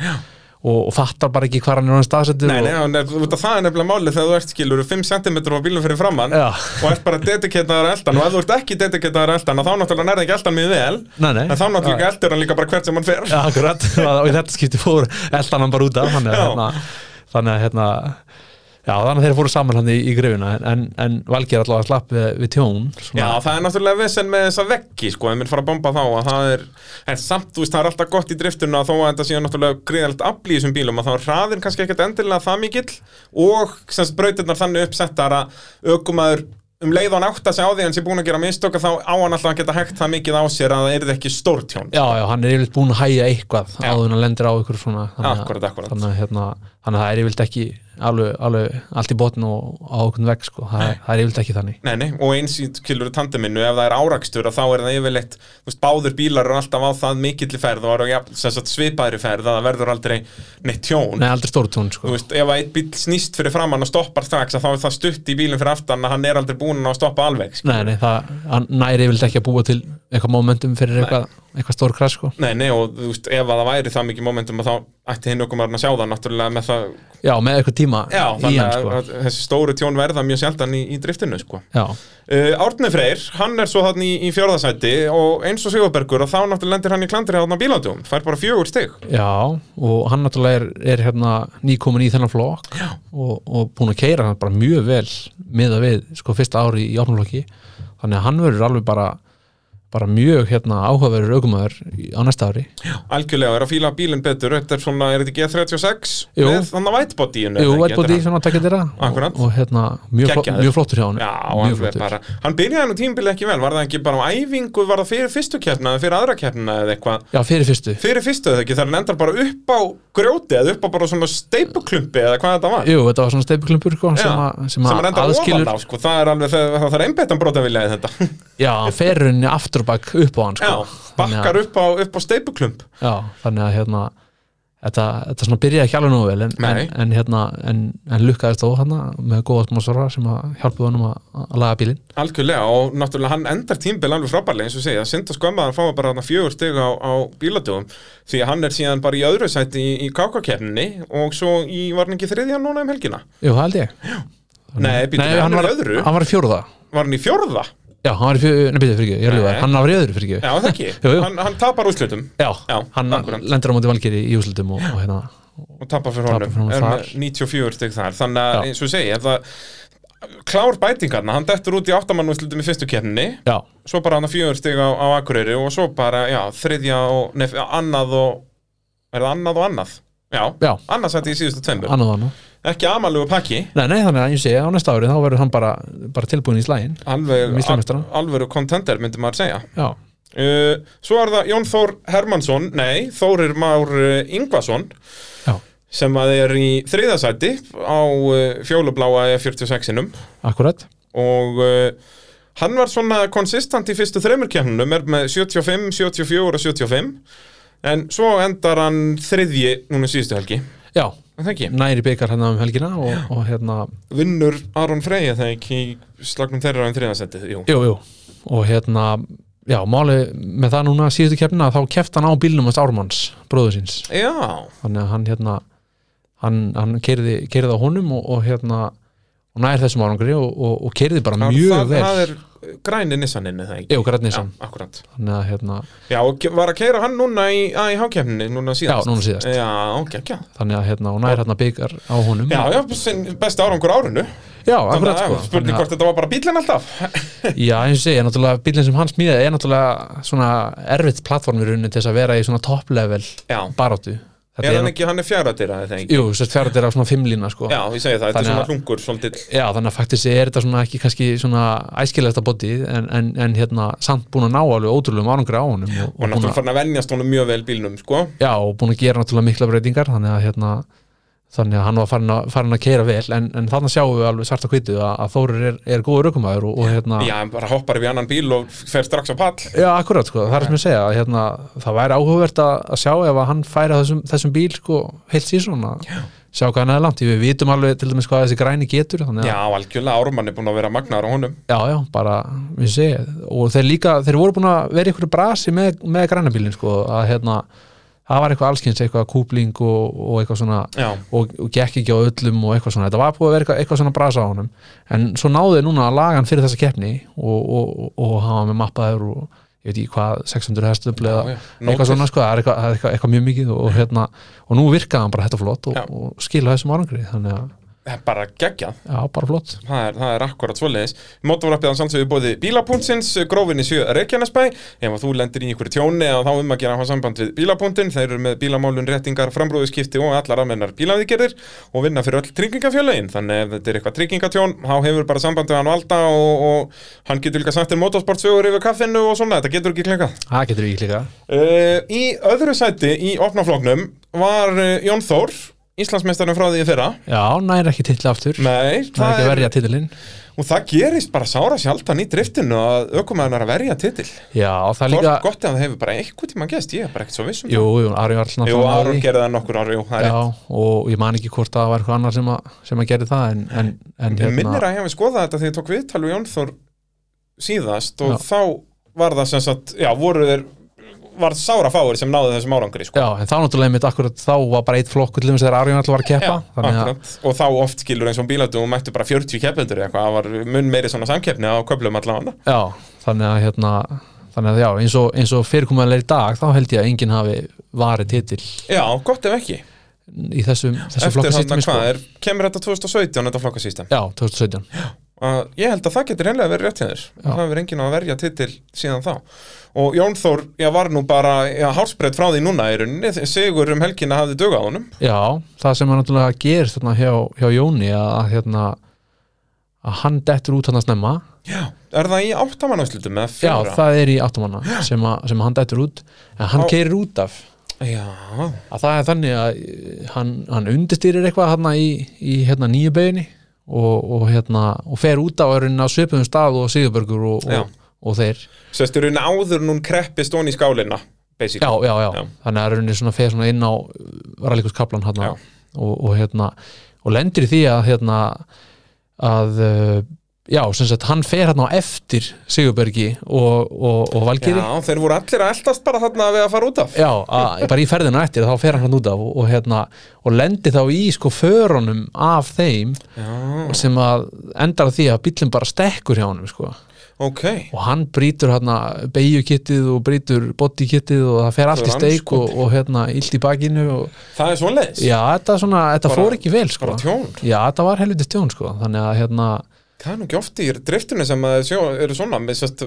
og, og fattar bara ekki hvað hann er hann staðsettur Nei, nei, og, hann er, út af það er nefnilega málið þegar þú ert skilur 5 cm á bílum fyrir framann Já. og ert bara dediketaður eldan og ef þú ert ekki dediketaður eldan þá náttúrulega nærði ekki eldan mjög vel Nei, nei. en þá náttúrulega eldur hann líka bara hvert sem hann fer ja, akkurat, og í þetta skipti fór eldan hann bara út af þannig að Já. hérna, þannig að hérna já, þannig að þeir fóru saman hann í, í grefina en, en Valkir allavega slapp við, við tjón Já, svona, það er náttúrulega vesen með þessa veggi sko, ef minn fara að bomba þá að það er en samt, þú veist, það er alltaf gott í driftuna þó að þetta séu náttúrulega greiðalt afl í þessum bílum að þá er hraðin kannski ekkert endilega það mikill og sem sagt, brautirnar þannig uppsettar að ökumaður um leið og hann átta sig á því að hann sé búin að gera mistök að þá á hann alltaf að geta hægt það mikið á sér að það yrði ekki stórtjón já, já, hann er yfirleitt búinn að hæja eitthvað Já. áður en að lendir á ykkur svona að- Akkúrat, akkúrat. Þannig, að, hérna, þannig að það er yfirleitt ekki alveg, alveg allt í botn og á okkur veg sko, það, er- það er yfirleitt ekki þannig Nei, nei, og eins í kilur tandeminu, ef það er árakstur að þá er það yfirleitt, þú veist, báður bílar eru alltaf á það mikilli ferð og eru ja, sem sagt, svipaðri ferð að það verður aldrei neitt tjón Nei, aldrei stóru tjón sko. Þú veist, ef að einn bíl snýst fyrir framann og stoppar strax að þá er það stutt í bílinn fyrir aftan að hann er aldrei búinn að ná að stoppa alveg sko. Nei, nei, það hann næri yfirleitt ekki að búa til eitthvað momentum fyrir eitthvað, eitthvað stór krass sko. Nei, nei, og þú veist, ef að það væri það mikið momentum að þá ætti hinn okkur maður að sjá það náttúrulega með það Já, með eitthvað tíma Já, í þannig hann að, sko. að þessi stóru tjón verða mjög sjaldan í, í driftinu sko. Já, Uh, Árni Freyr, hann er svo þannig í, í fjörðasæti og eins og Sigurbergur og þá náttúrulega lendir hann í klandri þarna á bílandum, fær bara fjögur stig já, og hann náttúrulega er, er hérna nýkomin í þennan flokk og, og búin að keira hann bara mjög vel miða við sko fyrsta ári í opnflokki þannig að hann verður alveg bara bara mjög hérna áhugaverður aukumæður á næsta ári Algjörlega, er að fíla bílinn betur, þetta er svona, er þetta E G36 Jú. með þannig að vætbótíinu Jú, vætt bóti sem hann tekja þeirra Akkurat. og, og hérna, mjög, flott, Geggjaður. mjög flottur hjá hann Já, mjög alveg flottur bara Hann byrjaði nú tímabilið ekki vel, var það ekki bara á æfingu Var það fyrir fyrstu keppna eða fyrir aðra keppna eða eitthvað Já, fyrir fyrstu Fyrir fyrstu eða ekki, þar hann endar bara upp á grjóti Eða upp á bara svona steipuklumpi eða hvað þetta var Jú, þetta var svona steipiklumpur sko, sem, að- sem, sem hann að endar aðskilur ofan á sko. Það er alveg, það, það er einbettan brotavilja í þetta Já, hann fer henni aftur og bakk upp á hann sko. Já, bakkar upp á, upp á steipuklump Já, þannig að hérna Þetta, þetta svona byrjaði ekki alveg nógu vel en, en, Nei. en, hérna, en, en lukkaðist þó hana með góða smásvara sem að hjálpaði honum að, að laga bílinn Algjörlega og náttúrulega hann endar tímbil alveg frábærlega eins og segja, synd og skömma að hann fá bara þarna fjögur stig á, á bíladöfum því að hann er síðan bara í öðru sæti í, í kákakeppninni og svo í var hann ekki þriðja núna um helgina Jú, það held ég Nei, býtum, hann, er var, í öðru hann var í fjórða Var hann í fjórða? Já, hann var í fjórða, nei, býtum, fyrir ekki, ég er Nei. ljóðið Hann var í öðru, fyrir ekki Já, það ekki Jú, jú. Hann, hann tapar úrslutum Já, Já, hann akkúrat. lendur á móti valgeri í úslutum og, og hérna og tapar fyrir Tapar fyrir honum honum Er þar. með 94 stygg þar Þannig að Já. eins og segja það, Klár bætingarna, hann dettur út í áttamannúrslutum í fyrstu keppninni Já, Svo bara hann að fjögur stig á, á Akureyri og svo bara, já, þriðja og nef, annað og Er það annað og annað? Já, Já. annað sætti í síðustu tveimur annað hann Ekki amalegu pakki Nei, nei, þannig að ég sé á næsta ári þá verður hann bara, bara tilbúin í slægin Alveg, Íslandsmeistara. alvöru contender myndi maður segja Já, Uh, svo er það Jón Þór Hermansson, nei, Þórir Már uh, Ingvason Já, sem að er í þriðasæti á uh, fjólubláa E46-inum akkurat og uh, hann var svona konsistant í fyrstu þreymur kemnunum, er með 75, 74 og 75 en svo endar hann þriðji núna síðustu helgi, Já, Er það ekki? næri byggar hérna um helgina og, og hérna, Vinnur Aron Freyja það ekki í slagnum þeirra um þriðasætið, jú. jú, jú og hérna, já, máli með það núna síðustu keppnina þá keft hann á bílnum hans Ármanns, bróður síns Já, þannig að hann hérna hann, hann keiriði, keiriði á honum og, og hérna og nær þessum árangri og, og, og keiriði bara mjög það, vel það er eh, græni Nissaninni það ekki Jú, Gratnissan, Já, akkurat þannig að hérna Já, og ke- var að keira hann núna í AIH-kefninni núna síðast Já, núna síðast. Já, gekkja þannig að hérna, og nær hérna byggar á honum Já, já, sinn besti árangur á árinu já akkurat Þannig sko að Spurning Þannig hvort þetta var bara bílinn alltaf að- Já, eins og segja, náttúrulega bílinn sem hann smíðaði er náttúrulega svona erfitt plattform í rauninni til þess að vera í svona top level Já, baráttu Þetta er hann er, ekki, hann er fjaradyr að það ekki jú, sérst fjárað er á svona fimmlína sko Já, ég segi það, þetta er Þannig svona að- hlungur svolítið Já, þannig að faktist er þetta svona ekki kannski svona æskilegasta boddi en, en, en hérna samt búin að ná alveg ótrúlegum árangri á honum og, Og búin að- náttúrulega farin að venjast honum mjög vel bílnum, sko já, og búin að gera náttúrulega mikla breytingar þannig að, hérna, þannig að hann var farin að, farin að keira vel en, en þannig sjáum við alveg svart að kvitu að, að Þórir er, er góður aukumæður og, og hérna, Já, hann bara hoppar við annan bíl og fer strax á pall já, akkurat sko, það er sem ég segja að, hérna, það væri áhugavert að, að sjá ef að hann færi að þessum, þessum bíl sko, heilt síðan að sjá hvað hann er langt Því við vitum alveg til dæmis hvað þessi græni getur þannig að, Já, algjörlega, Ármann er búin að vera magnaður á honum já, já, bara við segja, og þeir líka, þeir voru búin að vera í einhverju brasi með, með grænabílin sko, að hérna, það var eitthvað allskyns eitthvað kúpling og, og eitthvað svona Já, og, og gekk ekki á öllum og eitthvað svona þetta var búið að vera eitthvað, eitthvað svona brasa á honum en svo náði núna að laga hann fyrir þessa keppni og, og, og, og hafa með mappaður og ég veit ekki hvað 600 hestöfl eða Já, já. Nótið. eitthvað svona sko, það er eitthvað, það er eitthvað, eitthvað mjög mikið og, hérna, og nú virkaði hann bara þetta flott og, Já. og skila þessum árangri þannig að það er bara geggjað já, bara flott Það er, það er akkurat svoleiðis. Mótorvarpið hans alltaf við bóði bílapúntsins, grófinni sjö Reykjanesbæ. Ef að þú lendir í einhverju tjóni eða þá um að gera að hafa samband við bílapúntin, þeir eru með bílamálun, réttingar, framrúðuskipti og allar aðmennar bílaðigerðir og vinna fyrir öll tryggingafjölögin. Þannig ef þetta er eitthvað tryggingatjón, þá hefur bara samband við hann valda og, og hann getur líka sagt þér motorsportsögur yfir kaffinu og svona, þetta getur ekki klingað. það getur við líka Uh, í öðru sæti í opnaflóknum var uh, Jón Þór, Íslandsmeistarum frá því í fyrra. já, næri ekki titla aftur Nei, næri ekki að verja titilinn Og það gerist bara sára sjaldan í driftinu að aukumæðan er að verja titil já, það er Líka... líka Gott ef það hefur bara einhvern tíma gæst, ég er bara ekkert svo viss um jú, jú, Ari var það alltaf Jú, Aron gerði það nokkur ára, jú, það er Já, og ég man ekki hvort það var eitthvað annar sem að, sem að gerði það en, en, en Ég minnir að ég hefði skoðað þetta þegar ég tók viðtal við Jónþór síðast og Já. þá var það sem sagt, já, voru þeir var sára fáir sem náðu þessum árangri sko. Já, en þá náttúrulega mitt akkurat þá var bara eitt flokkur til þess að Arjón alltaf var að keppa þannig að, akkurat. Og þá oft skilur eins og bílættu og mættu bara 40 keppendur eða eitthvað, það var mun meiri svona samkeppni á köflum allavega já, þannig að hérna, þannig að já, eins og, eins og fyrirkomulega í dag, þá held ég að enginn hafi varið titil Já, gott ef ekki í þessum, þessum Eftir hann flokkasýstami hvað er, kemur þetta 2017 þetta flokkasýstem? sko. Já, 2017 að ég held að það getur reynilega verið rétt hjá þér það hefur enginn að verja titil síðan þá og Jón Þór, ég var nú bara já, hálsbreytt frá því núna í rauninni þegar sigur um helgina hafði dög á honum Já, það sem að náttúrulega gerist þarna hjá, hjá Jóni að hérna að hann dettur út hann að snemma já. er það í áttamannáðslutum eða Já, fjóra? það er í áttamanna sem, að- sem að hann dettur út en hann Á- keirir út af já, að það er þannig að eh, hann, hann undirstýrir eitthvað hann í, í hérna, nýju beginni og, og, hérna, og fer út á örunin á svipuðum stað og Sigurbergur og, Já. og, og þeir sérst eru náður núna kreppist hún í skálina já, basically já, já, Já. þannig að örunin svona fer svona inn á Rallikus Kaplan hann Já. og, og, hérna, og lendir í því að hérna, að eh, já, sem sagt, hann fer hann á eftir Sigurbergi og, og, og Valgeri já, þeir voru allir að eldast bara þarna við að fara út af Já, að, bara í ferðina eftir þá fer hann hann út af og, og, hérna, og lendir þá í sko förunum af þeim já, sem að endar á því að bíllinn bara stekkur hjá honum sko. ok og hann brýtur hérna beigjukittið og brýtur bodykittið og það fer allt í steik og, og hérna illt í bakinu og það er svoleiðis já, þetta, svona, þetta Bara- fór ekki vel sko. bara tjón. já, þetta var helviti tjón sko. þannig að hérna, Það er nú ekki oft í driftinu sem að sjó, eru svona, með sérst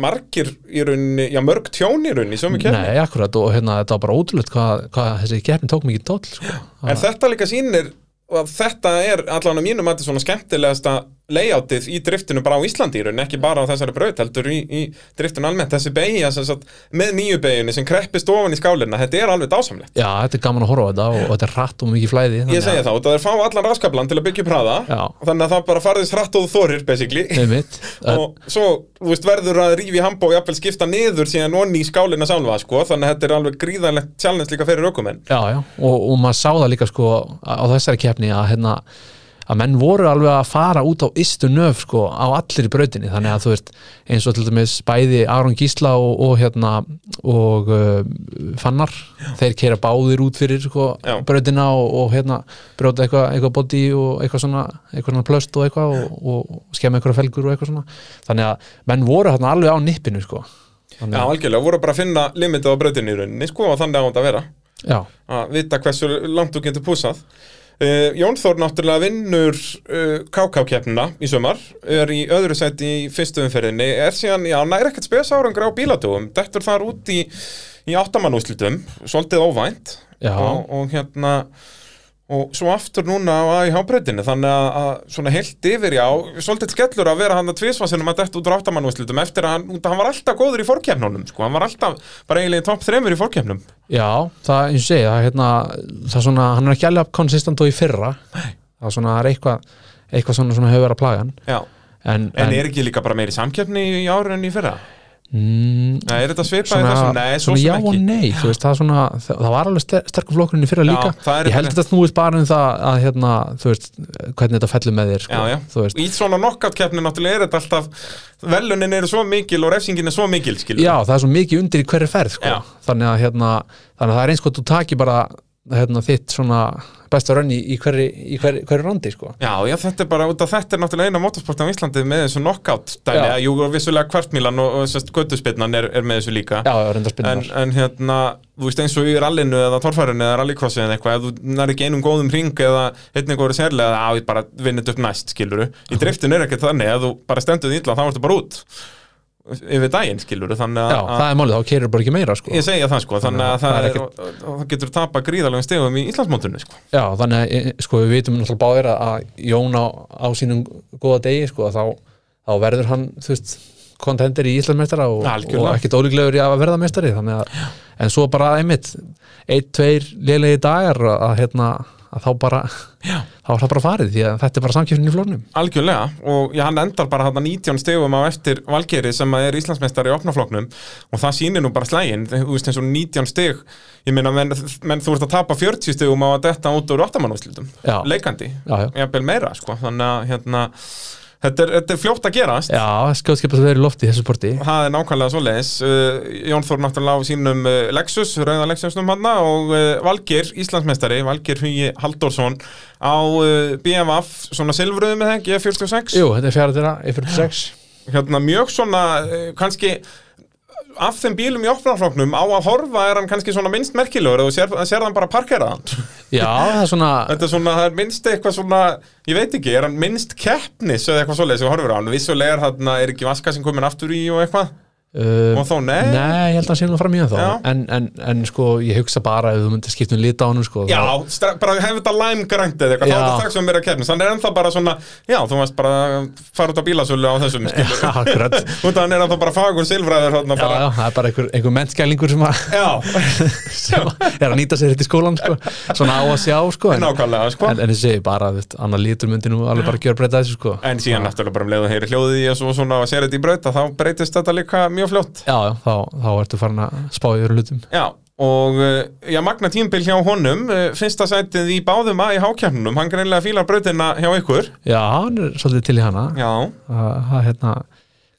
margir í rauninni, já mörg tjón í rauninni í sömu kemni. nei, akkurat og hérna, þetta var bara ótrúlegt hvað, hvað þessi keppin tók mikið tóll sko. En þetta líka sýnir og að þetta er allan á mínum að þetta er svona skemmtilegasta layoutið í driftinu bara á Íslandi í raun, ekki bara á þessari braut heldur í, í driftinu almennt, þessi beigja sem sagt, með nýju beigjunni sem kreppist ofan í skálina, þetta er alveg dásamlegt Já, þetta er gaman að horfa á þetta og, og þetta er rætt og mikið flæði Ég segi það, og það er fá allan raskablan til að byggja upp hraða Já. Þannig að það bara farðist hratt og þú þorir, basically Einmitt, og... Og svo, þú veist, verður að rífi hambó og jafnvel skipta niður síðan onni í skálina sálfa, sko Þannig að þetta er alveg gríðanlegt challenge líka fyrir ökumenn Já, já, og, og maður sá það líka sko á á þessari keppni að hérna að menn voru alveg að fara út á ystu nöf sko á allir í brautinni þannig að þú veist eins og til dæmis bæði Aron Gísla og, og hérna og uh, Fannar, þeir keira báðir út fyrir sko Já. brautina og, og hérna brjóta eitthvað eitthvað body og eitthvað svona eitthvað svona plöst og eitthvað og, og, og skemma eitthvað felgur og eitthvað svona þannig að menn voru hérna alveg á nippinu sko Já, algjörlega, voru bara að finna limitið á brautinni í rauninni, sko, og þannig á þetta að vera Já, að vita hversu langt þú getur púsað uh, Jón Þór náttúrulega vinnur uh, KK-keppnina í sumar er í öðru sæti í fyrstu umferðinni er síðan, já, nær ekkert spesárangra á bílatugum dettur þar út í, í áttamannúslitum, svolítið óvænt Já. og, og hérna og svo aftur núna á AIH-breytinu þannig að, að svona heilt yfir já svolítið skellur að vera hann að tvisvarsinum að detta út úr áttamannúslitum eftir að hann, út af- hann var alltaf góður í fórkefnunum sko, hann var alltaf bara eiginlega í topp þremur í fórkefnum Já, það eins og segja, það, er hérna, það er svona, hann er ekki alveg konsistent og í fyrra Nei. það er svona, það er eitthvað, eitthvað svona, svona hefur verið að plaga hann já, en, En, er ekki líka bara meiri samkeppni í ára enn í fyrra? mm, Nei, er þetta svipað í svona, þessum? Nei, svo svona já sem og ekki. nei þú veist, það, er svona, það, það var alveg ster- sterkur flokkurinn í fyrra Já, líka það er ég held rétt. að þetta snúist bara um það að hérna, þú veist, hvernig þetta fellur með þér Já, sko, já. þú veist Í svona knockout keppni náttúrulega er þetta alltaf, velunin eru svo mikil og refsingin er svo mikil, skilur. Já, það er svo mikið undir í hverju ferð sko. Já. þannig, að, hérna, þannig að það er eins hvað þú takir bara hérna, þitt svona besta rönni í hverju, í hverju, hverju randi sko. Já, já, þetta er bara út af þetta er náttúrulega eina motorsporti á Íslandi með þessu knockout dæmi, Já. að jú, og vissulega kvartmílan og, og sérst göttuspinnan er, er með þessu líka Já, já, en, reyndar spinnar en hérna, þú veist eins og í rallinu eða torfærinu eða rallycrossi eða eitthvað ef þú nær ekki einum góðum ring eða einnig góður sérlega, að ég bara vinnit upp næst skiluru, í driftinu er ekkert þannig ef þú bara stendur því illa þá ertu bara út yfir daginn skiluru, þannig Já, að, það er málið, þá keirir bara ekki meira sko. ég segja það sko þannig að það, það er er, og, og, og það getur tapa gríðalegum stegum í Íslandsmótinu sko Já, þannig að eh, sko, við vitum náttúrulega báðir að- að Jón á, á sínum góða degi sko, að þá, þá verður hann þú veist, kontendir í Íslandmeistara og, Algjörlega. og ekkit ólíklegur í að verða meistari þannig að, en svo bara einmitt einn, tveir lélegi dagar að, að, hérna, að þá bara Já. þá er það bara farið því að þetta er bara samkjöfnin í flórnum Algjörlega, og já, hann endar bara hann 19 stegum á eftir Valgeri sem að er Íslandsmeistar í opnafloknum og það sýnir nú bara slægin, þú veist eins og 19 steg ég meina, menn, menn þú ert að tapa 40 stegum á að detta út úr 8 mannúslutum Já. leikandi, Já, já. jafnvel meira sko. þannig að hérna, þetta, er, þetta er fljótt að gerast Já, skjóðskipast að vera í lofti í þessu sporti það er nákvæmlega svo leiðis uh, Jón Þór náttúrulega á sínum uh, Lexus, rauða Lexusnum hann og uh, Valgir, Íslandsmeistari, Valgir Hugi Halldórsson á uh, BMF, svona silfruðu með þeng, G46 Jú, þetta er fjara þeirra, 46 hérna mjög svona eh, kannski af þeim bílum í opnarfloknum á að horfa er hann kannski svona minnst merkilegur og sér, sér hann bara parkeraðan Já, það er svona þetta er svona, það er minnst eitthvað svona ég veit ekki, er hann minnst keppnis eða eitthvað svoleiðis, ég horfir á hann, vissulega er þarna er ekki vaska sem komin aftur í og eitthvað um, og þá nei, Nei, ég held að hann sé nú fram í það Já. þá en, en, en sko, ég hugsa bara ef þú myndir skipta um lita á hann sko, já, þá- stra- bara hefur þetta lime grænt eða eitthvað, þá Já. er þetta strax um meira keppnis hann er ennþá bara svona, já, þú veist bara fara út á bílasölu á þessum skilur Já, akkurat já, út af hann er ennþá bara fagur silfræður þarna bara, já, það er bara einhver, einhver mennskælingur sem, að- já, sem að er að nýta sér þetta í skólan sko. svona á að sjá sko, en, nákvæmlega, sko en, en ég segi bara, þú veist, annar lítur myndi nú alveg bara gjöra breyta þessu sko. En síðan náttúrulega bara um leið og heyri hljóðið í þessu og svona og sér þetta í brauta, þá breytist þetta líka mjög fljótt. Já, já, þá, þá ertu farin að spá í öru hlutum Já, og eh, já, magna tímbil hjá honum, eh, fyrsta sætið í báðum að í hákjæmnum, hann greinlega fílar brautina hjá ykkur. Já, hann er svolítið til í hana Já, Það það, hérna,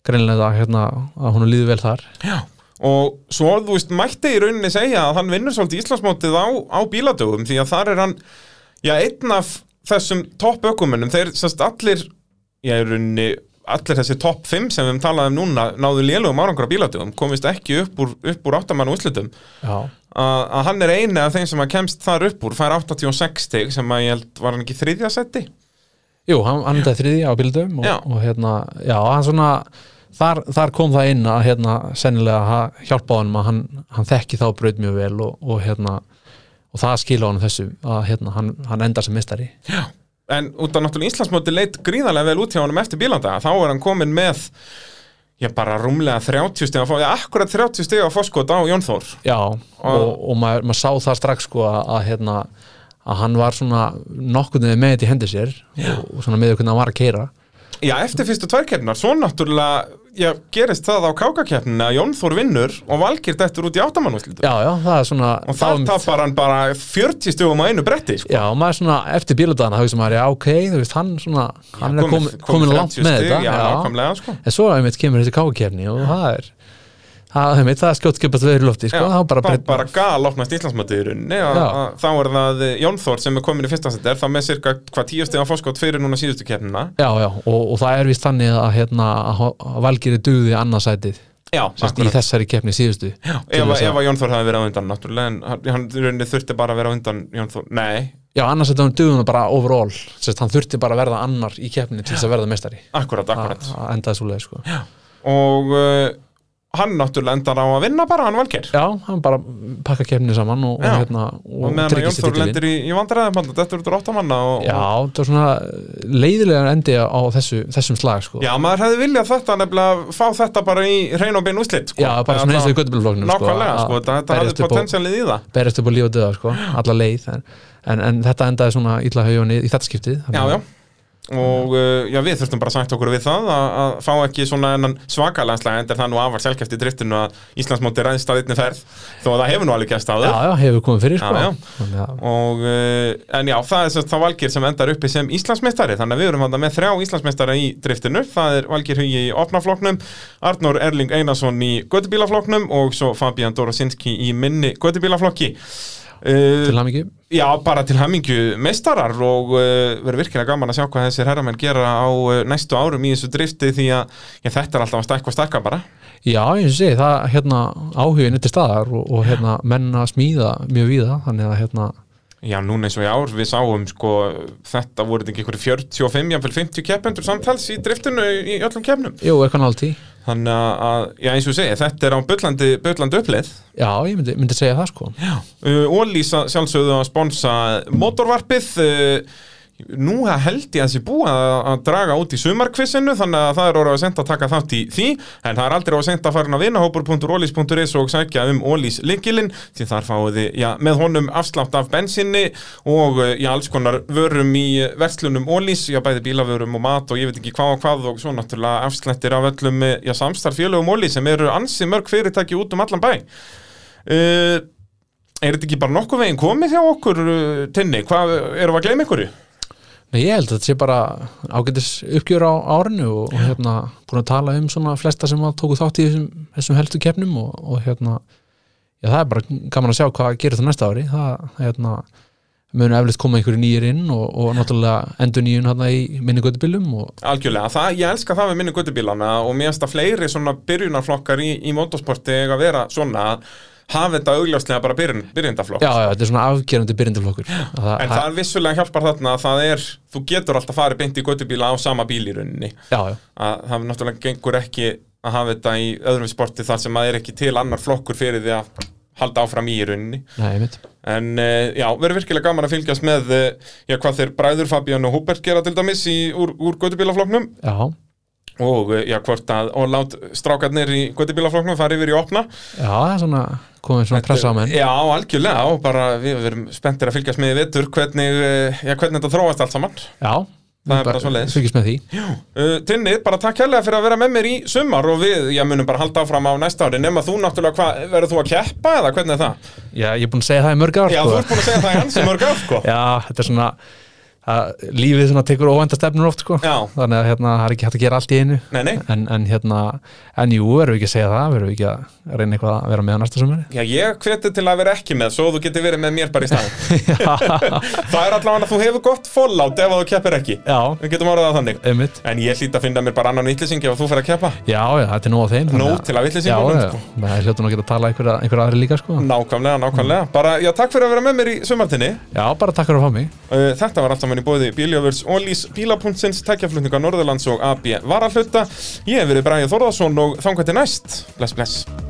greinilega hérna, að hún líður vel þar já. Og svo, þú veist, mætti í rauninni segja að hann vinnur svolítið Íslandsmótið á, á bíladögum, því að þar er hann, já, einn af þessum topp ökumennum, þeir, semst, allir, já, í rauninni, allir þessi topp 5 sem við talaðum núna náðu lélugum árangur á bíladögum, komist ekki upp úr, upp úr áttamann úrslitum. Já, að að hann er eini af þeim sem að kemst þar upp úr, fær 86 stig sem að ég held var hann ekki í þriðja seti Jú, hann andaði þriði á bildum og, Já. og hérna, já, hann svona þar, þar kom það inn að hérna sennilega ha- hjálpa honum að hann, hann þekki þá braut mjög vel og, og hérna og það skila honum þessu að hérna hann, hann endar sem mistari en út af náttúrulega Íslandsmóti leit gríðarlega vel út hjá honum eftir bílanda þá er hann komin með ég bara rúmlega 30 stiga fó- eða akkurat 30 stiga fórskot á Jón Þór Já, og, og maður, maður sá það strax sko að, að hérna að hann var svona nokkurnuði með þetta í hendi sér og, og svona með hvernig hann var að keira Já, eftir fyrstu tværkeppnar, svo náttúrulega já, gerist það á kákakeppnina að Jón Þór vinnur og Valgir dettur út í áttamannúslítur Já, já, það er svona og þar þá- um- tapar hann bara 40 stugum á einu bretti sko. Já, og maður svona eftir bíladaðana hugsa maður, já, ok, þú veist, hann svona hann er komin, komin langt með þetta Já, já. nákvæmlega sko en svo einmitt kemur þessi kákefni og það er það, einmitt, það er skjótskipast veður í lofti sko, Já, þá bara, bara, bara gal opnast Íslandsmótið í rauninni að- Já. að þá er það eh, Jón Þór sem er komin í fyrsta seti er það með cirka hvað tíu stiga fórskot fyrir núna síðustu keppnina já, já, og, og það er vist þannig að, hérna, að ho- að valgeri dugði annarsætið Já, sérst, í þessari kefni síðustu já, Ef að- ef að Jón Þór hafi verið á undan náttúrulega en hann- hann í rauninni þurfti bara að vera á undan Jón Þór Nei, já annarsætið hann dugði hann bara overall sérst, hann þurfti bara að verða annar í kefni til þess að verða mestari akkurat, akkurat að að endaði svo leið sko. já. og uh, hann náttúrulega endar á að vinna bara hann valgir hann bara pakka kefni saman og, og, Já. hérna, og og, meðan að Jón tryggist Þór þetta til lendir í, í vandræðum hann þetta er út úr áttamanna og, Já, og, það var svona leiðilegan endi á þessu, þessum slag sko. já, maður hefði viljað þetta nefnilega fá þetta bara í hrein og bein úslit sko. Já, bara svona eins og í göttubílfloknum nákvæmlega, sko, þetta, þetta berjast hafði upp á- potensialið í það berjast upp á líf og döða sko, alla leið en, en, en þetta endaði svona illa haugunni í þetta skiptið já, þannig að- já og uh, já, við þurftum bara að sagt okkur við það að, að fá ekki svona ennan svakalandslega enda er það nú afar selgæft í driftinu að Íslandsmóti ræðst að einni ferð þó að það hefur nú alveg gæst áður já, já, hefur komið fyrir sko. Já, já. Þannig að- og, uh, en já, það er sem sagt þá Valgir sem endar uppi sem Íslandsmeistari þannig að við erum hann með þrjá Íslandsmeistara í driftinu það er Valgir Hugi í opnafloknum Arnór Erling Einarsson í göttubílafloknum og svo Fabian Dorosinski í minni göttubílaflokki uh, til hann ekki Já, bara til hamingju meistarar og uh, verður virkilega gaman að sjá hvað þessir herramenn gera á uh, næstu árum í þessu drifti því að já, þetta er alltaf að stækka og stækka bara Já, eins og segi, það hérna áhugin er til staðar og, og hérna menn að smíða mjög víða, þannig að hérna Já, núna eins og í ár, við sáum sko, þetta voru þetta ekki einhverju 45, jafnvel 50 keppendur samtals í driftinu í öllum keppnum. jú, eitthvað náltí Þannig að- að, já eins og ég segi, þetta er á bullandi, bullandi uppleið. Já, ég myndi, myndi segja það sko Uh, Ólís að- sjálfsögðu að sponsa motorvarpið. Uh, nú held ég að þessi búið að að draga út í sumarkvissinu, þannig að það er orðið að senda að taka þátt í því, en það er aldrei að senda að fara inn á vinahópur.ólís.is og sækja um Ólís linkilinn, því þar fáið þið, já, með honum afslátt af bensinni og uh, já, alls konar vörum í uh, verslunum Ólís, já, bæði bílavörum og mat og ég veit ekki hvað og hvað og svo náttúrulega afslættir af öllum, uh, já, samstarfélögum Ólís sem eru ansi mörg fyrirtæki út um allan bæ. Uh, Er þetta ekki bara nokkuð veginn komið hjá okkur, uh, Tinni? Hvað, erum við að gleyma einhverju? Nei, ég held að þetta sé bara ágætis uppgjör á árinu og, og hérna búin að tala um svona flesta sem að tóku þátt í þessum, þessum helstu kefnum og, og hérna já, það er bara gaman að sjá hvað gerir það næsta ári það hérna munu eflust koma einhverju nýjir inn og, og náttúrulega endur nýjun hérna í minningötubilum og Algjörlega, það, ég elska það við minni guttubílana og mér finnst að fleiri svona byrjunarflokkar í, í motorsporti eiga að vera svona að hafa þetta augljóslega bara byrjun, byrjundaflokk. já, já, þetta er svona afgerandi byrjindaflokkur En það er vissulega hjálpar þarna að það er, þú getur alltaf farið beint í guttubíla á sama bíl í rauninni. já, já, Að það náttúrulega gengur ekki að hafa þetta í öðrum sporti þar sem að er ekki til annar flokkur fyrir því að halda áfram í í rauninni. nei, mitt En uh, já, verður virkilega gaman að fylgjast með uh, já, hvað þeir bræður Fabian og Hubert gera til dæmis í, úr, úr göttubílafloknum já, og uh, já, hvort að og lát strákarnir í göttubílafloknum fara yfir í opna já, það er svona komið svona pressa á menn Já, algjörlega og bara við verum spenntir að fylgjast með í vetur hvernig, uh, já, hvernig þetta þróast allt saman já, Það er bara svoleiðis. fylgjast með því uh, Tinni, bara takk hérlega fyrir að vera með mér í sumar og við, já, munum bara halda áfram á næsta ári nema þú náttúrulega, hvað, verður þú að keppa eða hvernig er það? já, ég er búin að segja það í mörg ár Já, sko. þú ert búin að segja það í ansi mörg af, sko Já, þetta er svona að, lífið svona tekur óvænta stefnur oft sko. Já. þannig að hérna, það er ekki hægt að gera allt í einu Nei, nei. En, en hérna, en jú, verðum við ekki að segja það verðum við ekki að reyna eitthvað að vera með á næsta sumari Já, ég hveti til að vera ekki með, svo þú getur verið með mér bara í staðin. það er allavega að þú hefur gott fallout ef að þú keppir ekki. Já, Við getum orðað það þannig. einmitt En ég hlýt að finna mér bara annan vittlýsing ef að þú fer að keppa. Já, já, þetta er nóg á þeim Nóg þannig að- til að Já, vitleysingunum, já, sko. það er hljóttum að geta að tala einhverja, einhverja aðri líka sko. Nákvæmlega, nákvæmlega. Bara, já, takk fyrir að vera með mér í sumartinni. Já, bara takk fyrir að fá mig Uh, Þetta var allt saman í bóði Bíljöfurs, Ólís, Bíla.sins, Tækjaflutninga Norðurlands og AB Varahluta. Ég hef verið Bræði Þórðarsson og þangar til næst. Bless, bless.